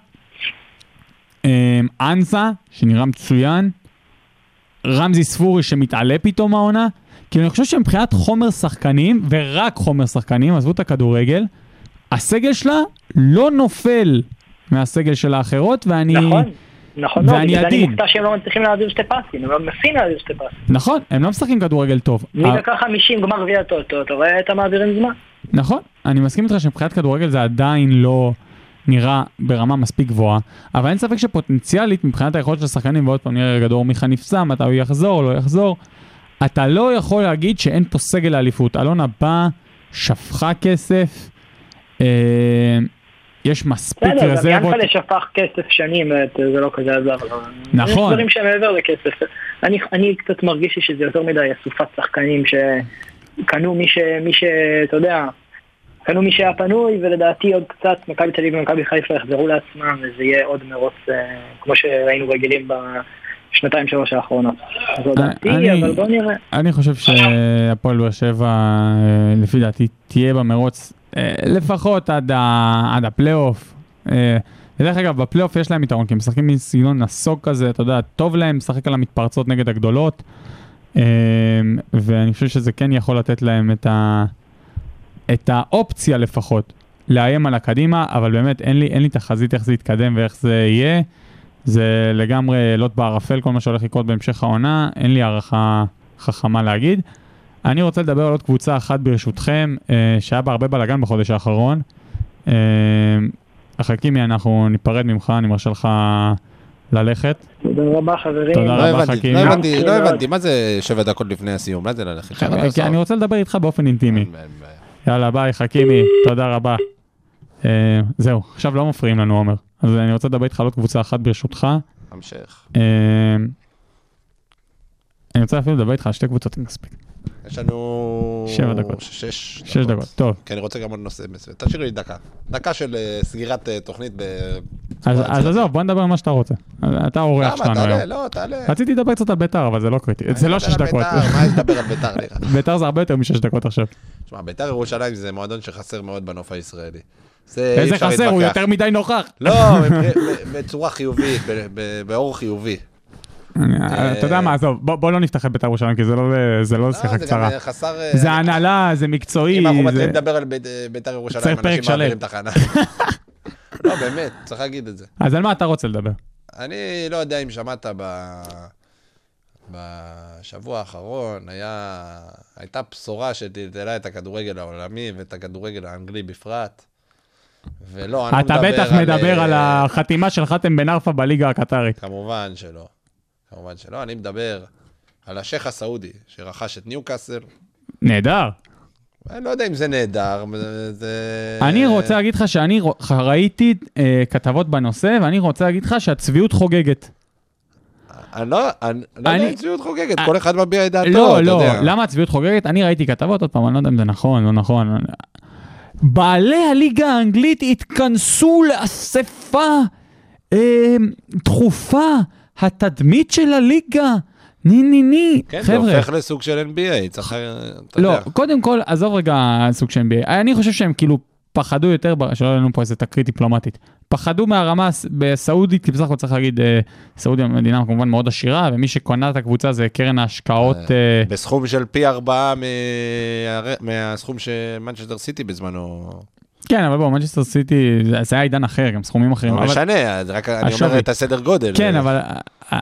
Speaker 4: אה, אנסה, שנראה מצוין, רמזי ספורי שמתעלה פתאום העונה, כי אני חושב שמבחינת חומר שחקנים, ורק חומר שחקנים, עזבו את הכדורגל, הסגל שלה לא נופל מהסגל של האחרות, ואני...
Speaker 6: נכון, נכון מאוד,
Speaker 4: ואני
Speaker 6: בגלל זה אני
Speaker 4: עדין.
Speaker 6: מופתע שהם לא מצליחים להעביר שתי פסים, הם לא מנסים להעביר שתי פסים.
Speaker 4: נכון, הם לא משחקים כדורגל טוב. אה,
Speaker 6: מדקה 50 גמר גביע הטוטו, אתה רואה את המעבירים זמן?
Speaker 4: נכון, אני מסכים איתך שמבחינת כדורגל זה עדיין לא נראה ברמה מספיק גבוהה, אבל אין ספק שפוטנציאלית מבחינת היכולת של השחקנים, ועוד פעם נראה רגע דור מיכה נפסע, מתי הוא יחזור, לא יחזור, אתה לא יכול להגיד שאין פה סגל לאליפות. אלונה באה, שפכה כסף, אה, יש מספיק
Speaker 6: בסדר, גם
Speaker 4: רזרבות.
Speaker 6: יאנפלה שפך כסף שנים, את- זה לא כזה עזר. אבל-
Speaker 4: נכון.
Speaker 6: יש דברים שהם מעבר לכסף. אני- אני קצת מרגיש לי שזה יותר מדי אסופת שחקנים שקנו מי ש... מי ש... אתה יודע, קנו מי שהיה פנוי, ולדעתי עוד קצת מכבי תל אביב ומכבי חיפה יחזרו לעצמם, וזה יהיה עוד מרוץ, אה, כמו שהיינו רגילים בשנתיים שלוש האחרונות. זו דעתי,
Speaker 4: אה, אני-
Speaker 6: אבל בוא נראה.
Speaker 4: אני חושב שהפועל באר שבע, אה, לפי דעתי, תהיה במרוץ אה, לפחות עד, ה... עד הפלייאוף. אה, דרך אגב, בפלייאוף יש להם יתרון, כי הם משחקים מין סגנון נסוג כזה, אתה יודע, טוב להם לשחק על המתפרצות נגד הגדולות, אה, ואני חושב שזה כן יכול לתת להם את, ה... את האופציה לפחות לאיים על הקדימה, אבל באמת אין לי, אין לי תחזית איך זה יתקדם ואיך זה יהיה. זה לגמרי לוט בערפל, כל מה שהולך לקרות בהמשך העונה, אין לי הערכה חכמה להגיד. אני רוצה לדבר על עוד קבוצה אחת ברשותכם, אה, שהיה בה הרבה בלאגן בחודש האחרון. אה, החכימי, אנחנו ניפרד ממך, אני מרשה לך ללכת.
Speaker 6: תודה רבה חברים.
Speaker 4: תודה
Speaker 5: לא
Speaker 4: רבה,
Speaker 5: הבנתי,
Speaker 4: חכים. כאילו-
Speaker 5: לא הבנתי,
Speaker 6: גם
Speaker 5: לא
Speaker 6: כן,
Speaker 5: הבנתי, מה זה שבע דקות לפני הסיום? מה זה ללכת?
Speaker 4: אה, כי- כי אני רוצה לדבר איתך באופן אינטימי. יאללה, ביי, חכימי, תודה רבה. אה, זהו, עכשיו לא מפריעים לנו, עומר. אז אני רוצה לדבר איתך על עוד קבוצה אחת ברשותך.
Speaker 5: המשך.
Speaker 4: אה, אני רוצה אפילו לדבר איתך על שתי קבוצות, אם נספיק.
Speaker 5: יש לנו...
Speaker 4: שבע דקות.
Speaker 5: שש
Speaker 4: שש דקות, טוב.
Speaker 5: כי אני רוצה גם עוד נושא מסוים. תשאיר לי דקה. דקה של אה, סגירת אה, תוכנית ב...
Speaker 4: אז-
Speaker 5: בצורה
Speaker 4: אז
Speaker 5: יצירתית.
Speaker 4: עזוב, בוא נדבר על מה שאתה רוצה. אתה האורח
Speaker 5: למה?
Speaker 4: שלנו אה. היום.
Speaker 5: תעלה, לא, תעלה.
Speaker 4: רציתי לדבר קצת על ביתר, אבל זה לא קריטי. זה לא
Speaker 5: אני
Speaker 4: שש
Speaker 5: מדבר על
Speaker 4: דקות.
Speaker 5: בית"ר, מה יש לדבר על ביתר נראה?
Speaker 4: ביתר זה הרבה יותר משש דקות עכשיו.
Speaker 5: תשמע, ביתר ירושלים זה מועדון שחסר מאוד בנוף הישראלי. זה אי
Speaker 4: איזה
Speaker 5: אפשר
Speaker 4: חסר, הוא
Speaker 5: להתווכח.
Speaker 4: יותר מדי נוכח.
Speaker 5: לא, מבח- בצורה חיובית, ב- ב- באור חיובי.
Speaker 4: אוקיי, אה, אתה יודע מה, עזוב, בוא בוא לא נפתח את ביתר ירושלים, כי זה לא- זה לא
Speaker 5: לא,
Speaker 4: שיחה
Speaker 5: זה גם
Speaker 4: קצרה.
Speaker 5: אה, חסר... אה,
Speaker 4: זה הנהלה, זה מקצועי.
Speaker 5: אם אנחנו
Speaker 4: זה-
Speaker 5: מתחילים לדבר על בית- אה, ביתר ירושלים,
Speaker 4: צריך פרק
Speaker 5: אנשים מעבירים
Speaker 4: שלם.
Speaker 5: תחנה. לא, באמת, צריך להגיד את זה.
Speaker 4: אז על מה אתה רוצה לדבר?
Speaker 5: אני לא יודע אם שמעת ב... בשבוע האחרון היה... הייתה בשורה שטלטלה את הכדורגל העולמי ואת הכדורגל האנגלי בפרט. ולא, אנחנו
Speaker 4: אתה
Speaker 5: נדבר
Speaker 4: בטח
Speaker 5: על,
Speaker 4: מדבר
Speaker 5: אה,
Speaker 4: על החתימה של חתם בן ארפה בליגה הקטרית.
Speaker 5: כמובן שלא. כמובן שלא. אני מדבר על השייח הסעודי שרכש את ניוקאסל.
Speaker 4: נהדר.
Speaker 5: אני לא יודע אם זה נהדר, זה- זה...
Speaker 4: אני רוצה להגיד לך שאני רוא- ח- ראיתי אה, כתבות בנושא, ואני רוצה להגיד לך שהצביעות חוגגת.
Speaker 5: אני לא, אני לא יודע
Speaker 4: אני-
Speaker 5: אם ציוד חוגגת,
Speaker 4: אה,
Speaker 5: כל אחד מביע את דעתו,
Speaker 4: לא,
Speaker 5: אתה
Speaker 4: לא,
Speaker 5: יודע.
Speaker 4: למה הצביעות חוגגת? אני ראיתי כתבות, עוד פעם, אני לא יודע אם זה נכון, לא נכון. בעלי הליגה האנגלית התכנסו לאספה אה, דחופה, התדמית של הליגה, ני ני ני.
Speaker 5: כן, זה
Speaker 4: חבר'ה,
Speaker 5: הופך לסוג של NBA, צריך... אתה
Speaker 4: לא,
Speaker 5: יודע.
Speaker 4: קודם כל, עזוב רגע סוג של NBA. אני חושב שהם כאילו פחדו יותר, ב- שלא יהיה לנו פה איזה תקרית דיפלומטית. פחדו מהרמה הס- בסעודית, כי בסך הכל צריך להגיד, אה, סעודיה מדינה כמובן מאוד עשירה, ומי שקונה את הקבוצה זה קרן ההשקעות. אה,
Speaker 5: בסכום של פי ארבעה מה- מהסכום שמנצ'סטר סיטי בזמנו.
Speaker 4: כן, אבל בואו, מנצ'סטר סיטי, זה זה היה עידן אחר, גם סכומים אחרים.
Speaker 5: לא
Speaker 4: כן, אבל-
Speaker 5: משנה, אז רק אני אומר
Speaker 4: השווי.
Speaker 5: את הסדר גודל.
Speaker 4: כן, אבל... אה, אה,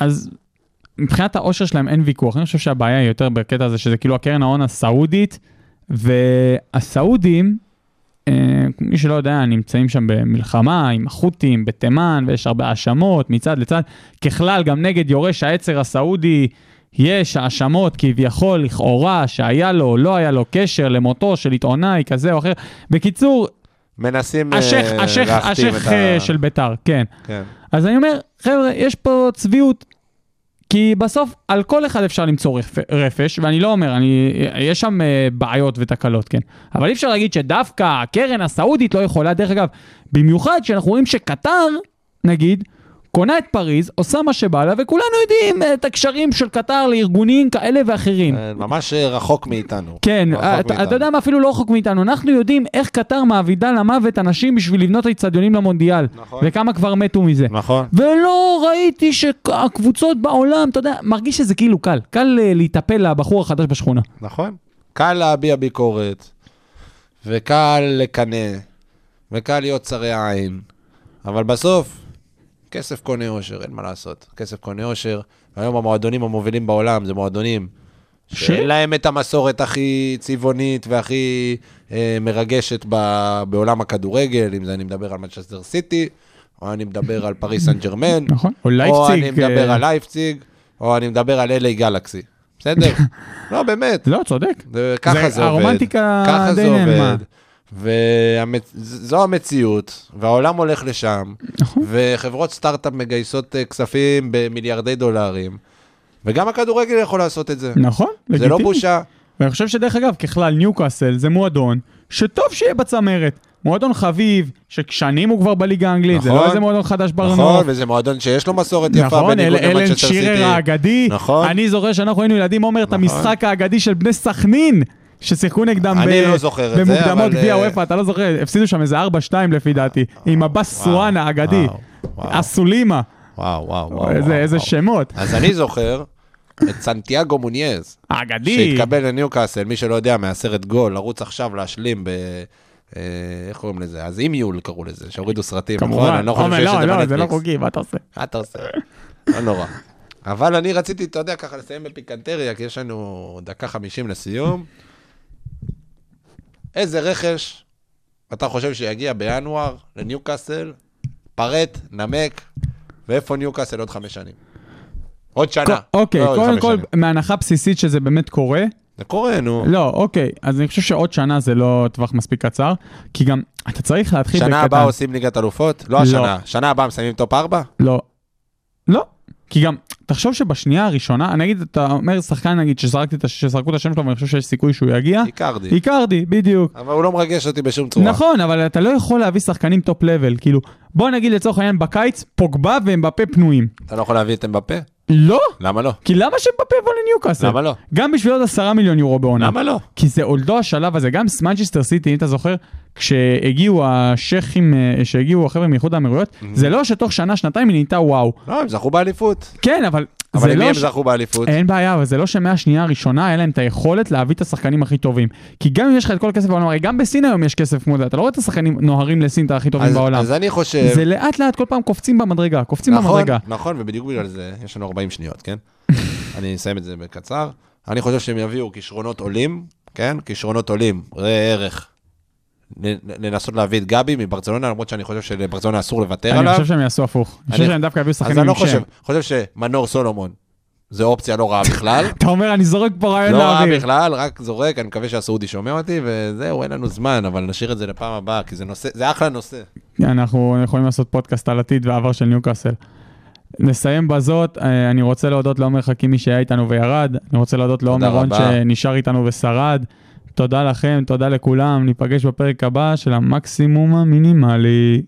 Speaker 4: אז מבחינת העושר שלהם אין ויכוח. אני חושב שהבעיה היא יותר בקטע הזה, שזה כאילו הקרן ההון הסעודית, והסעודים, אה, מי שלא יודע, נמצאים שם במלחמה עם החות'ים בתימן, ויש הרבה האשמות מצד לצד. ככלל, גם נגד יורש העצר הסעודי יש האשמות כביכול, לכאורה, שהיה לו או לא היה לו קשר למותו של עיתונאי כזה או אחר. בקיצור,
Speaker 5: מנסים אה,
Speaker 4: השייח, השייח,
Speaker 5: להכתים את
Speaker 4: השייח
Speaker 5: ה-
Speaker 4: אה, של ביתר, כן.
Speaker 5: כן.
Speaker 4: אז אני אומר, חבר'ה, יש פה צביעות. כי בסוף על כל אחד אפשר למצוא רפ- רפש, ואני לא אומר, אני, יש שם אה, בעיות ותקלות, כן. אבל אי אפשר להגיד שדווקא הקרן הסעודית לא יכולה, דרך אגב, במיוחד שאנחנו רואים שקטר, נגיד, קונה את פריז, עושה מה שבא לה, וכולנו יודעים אה, את הקשרים של קטר לארגונים כאלה ואחרים.
Speaker 5: אה, ממש אה, רחוק מאיתנו.
Speaker 4: כן,
Speaker 5: רחוק
Speaker 4: אתה-
Speaker 5: מאיתנו.
Speaker 4: אתה יודע מה, אפילו לא רחוק מאיתנו. אנחנו יודעים איך קטר מעבידה למוות אנשים בשביל לבנות איצטדיונים למונדיאל.
Speaker 5: נכון.
Speaker 4: וכמה כבר מתו מזה.
Speaker 5: נכון.
Speaker 4: ולא ראיתי שהקבוצות בעולם, אתה יודע, מרגיש שזה כאילו קל. קל אה, להיטפל לבחור החדש בשכונה.
Speaker 5: נכון. קל להביע ביקורת, וקל לקנא, וקל להיות צרי עין, אבל בסוף, כסף קונה אושר, אין מה לעשות. כסף קונה אושר, והיום המועדונים המובילים בעולם זה מועדונים
Speaker 4: ש-
Speaker 5: שאין להם את המסורת הכי צבעונית והכי אה, מרגשת ב, בעולם הכדורגל, אם זה אני מדבר על מנצ'סטר סיטי, או אני מדבר על פריס סן ג'רמן,
Speaker 4: נכון. או
Speaker 5: או אני
Speaker 4: לייפציג.
Speaker 5: מדבר
Speaker 4: אה,
Speaker 5: על לייפציג, או אני מדבר על אליי גלקסי. בסדר? לא, באמת.
Speaker 4: לא, צודק.
Speaker 5: זה- ככה
Speaker 4: זה
Speaker 5: זה עובד.
Speaker 4: הרומנטיקה
Speaker 5: ככה זה
Speaker 4: די נעלמה.
Speaker 5: עובד. וזו המציאות, והעולם הולך לשם,
Speaker 4: נכון.
Speaker 5: וחברות סטארט-אפ מגייסות אה, כספים במיליארדי דולרים, וגם הכדורגל יכול לעשות את זה.
Speaker 4: נכון,
Speaker 5: זה לא
Speaker 4: לגיטימי.
Speaker 5: בושה.
Speaker 4: ואני חושב שדרך אגב, ככלל, ניוקאסל זה מועדון שטוב שיהיה בצמרת. מועדון חביב, ששנים הוא כבר בליגה האנגלית, זה לא
Speaker 5: נכון.
Speaker 4: איזה מועדון חדש ברנוף.
Speaker 5: נכון, וזה מועדון שיש לו מסורת יפה,
Speaker 4: לא. נכון, אל,
Speaker 5: בניגוד
Speaker 4: אלן
Speaker 5: למנצ'סטר
Speaker 4: שירר
Speaker 5: סיטי.
Speaker 4: האגדי.
Speaker 5: נכון.
Speaker 4: אני זוכר שאנחנו היינו ילדים, עומר, את
Speaker 5: נכון.
Speaker 4: המשחק האגדי של בני סכנין, ששיחקו נגדם
Speaker 5: אני לא זוכר את זה,
Speaker 4: במוקדמות
Speaker 5: אבל,
Speaker 4: גביע
Speaker 5: אה,
Speaker 4: וופא, אתה לא זוכר, הפסידו שם איזה 4-2 לפי דעתי, עם עבאס
Speaker 5: וואו,
Speaker 4: סואן האגדי,
Speaker 5: וואו, וואו,
Speaker 4: אסולימה,
Speaker 5: וואו, וואו, וואו.
Speaker 4: איזה-
Speaker 5: וואו,
Speaker 4: איזה
Speaker 5: וואו.
Speaker 4: שמות.
Speaker 5: אז אני זוכר את סנטיאגו מונייז,
Speaker 4: האגדי.
Speaker 5: שהתקבל לניוקאסל, מי שלא יודע, מהסרט גול, לרוץ עכשיו להשלים ב... אה, איך קוראים לזה? אז אם יול קראו לזה, שהורידו סרטים, נכון?
Speaker 4: כמובן.
Speaker 5: אני לא חושב
Speaker 4: עומר,
Speaker 5: שיש את
Speaker 4: לא,
Speaker 5: זה
Speaker 4: לא, זה לא
Speaker 5: בנטפליקס.
Speaker 4: חוקי, מה אתה עושה?
Speaker 5: מה אתה עושה? לא נורא. אבל אני רציתי, אתה יודע, ככה לסיים בפיקנטריה, כי יש לנו דקה חמישים לסיום. איזה רכש אתה חושב שיגיע בינואר לניוקאסל? פרט, נמק, ואיפה ניוקאסל עוד חמש שנים? עוד שנה.
Speaker 4: אוקיי,
Speaker 5: לא עוד
Speaker 4: קודם
Speaker 5: חמש
Speaker 4: כל,
Speaker 5: שנים. נכון.
Speaker 4: מהנחה בסיסית שזה באמת קורה,
Speaker 5: זה קורה, נו.
Speaker 4: לא, אוקיי, אז אני חושב שעוד שנה זה לא טווח מספיק קצר, כי גם אתה צריך להתחיל
Speaker 5: שנה
Speaker 4: בקטן.
Speaker 5: הבאה עושים ליגת אלופות? לא השנה. שנה הבאה מסיימים טופ ארבע?
Speaker 4: לא. לא. כי גם, תחשוב שבשנייה הראשונה, נגיד, אתה אומר שחקן, נגיד, שזרקתי את הש- שזרקו את השם שלו, ואני חושב שיש סיכוי שהוא יגיע,
Speaker 5: איקרדי.
Speaker 4: איקרדי, בדיוק.
Speaker 5: אבל הוא לא מרגש אותי בשום צורה.
Speaker 4: נכון, אבל אתה לא יכול להביא שחקנים טופ לבל, כאילו, בוא נגיד לצורך העניין בקיץ, פוגבה ומבפה פנויים.
Speaker 5: אתה לא יכול להביא את אמבפה?
Speaker 4: לא?
Speaker 5: למה לא?
Speaker 4: כי למה שמבפה יבוא לניוקאסל?
Speaker 5: למה לא?
Speaker 4: גם בשביל עוד עשרה מיליון יורו בעונה.
Speaker 5: למה לא?
Speaker 4: כי זה עוד לא השלב הזה, גם מנצ'סטר סיטי, אם אתה זוכר, כשהגיעו השייחים, אה, שהגיעו החבר'ה מאיחוד האמירויות, זה לא שתוך שנה, שנתיים היא נהייתה וואו.
Speaker 5: לא, הם זכו באליפות.
Speaker 4: כן, אבל
Speaker 5: אבל
Speaker 4: זה
Speaker 5: למי
Speaker 4: לא...
Speaker 5: הם
Speaker 4: ש-
Speaker 5: זכו באליפות?
Speaker 4: אין בעיה, אבל זה לא שמהשנייה הראשונה היה להם את היכולת להביא את השחקנים הכי טובים. כי גם אם יש לך את כל הכסף בעולם, הרי גם בסין היום יש כסף כמו זה, אתה לא רואה את השחקנים נוהרים לסין את הכי טובים
Speaker 5: אז-
Speaker 4: בעולם.
Speaker 5: אז אני חושב...
Speaker 4: זה לאט לאט כל פעם קופצים במדרגה, קופצים
Speaker 5: נכון,
Speaker 4: במדרגה.
Speaker 5: נכון, ובדיוק בגלל זה, יש לנו 40 שניות, כן? אני אסיים את זה בקצר. אני חושב שהם יביאו כישרונות עולים, כן? כישרונות עולים, ראה ערך. ל- לנסות להביא את גבי מברצלונה, למרות שאני חושב שלברצלונה אסור לוותר
Speaker 4: אני
Speaker 5: עליו.
Speaker 4: חושב שהם יעשו הפוך. אני חושב
Speaker 5: אני-
Speaker 4: שהם דווקא יביאו
Speaker 5: אז
Speaker 4: שחקנים
Speaker 5: אני לא
Speaker 4: עם
Speaker 5: חושב,
Speaker 4: שם.
Speaker 5: חושב שמנור סולומון זה אופציה לא רעה בכלל.
Speaker 4: אתה אומר, אני זורק פה רעיון
Speaker 5: לא רע
Speaker 4: לאוויר.
Speaker 5: בכלל, רק זורק, אני מקווה שהסעודי שומע אותי, וזהו, אין לנו זמן, אבל נשאיר את זה לפעם הבאה, כי זה נושא, זה אחלה נושא.
Speaker 4: אנחנו יכולים לעשות פודקאסט על עתיד והעבר של ניוקאסל. נסיים בזאת, אה, אני רוצה להודות לעומר חכימי שהיה איתנו וירד, אני רוצה להודות לעומר רון
Speaker 5: רבה.
Speaker 4: שנשאר איתנו ושרד. תודה לכם, תודה לכולם, ניפגש בפרק הבא של המקסימום המינימלי.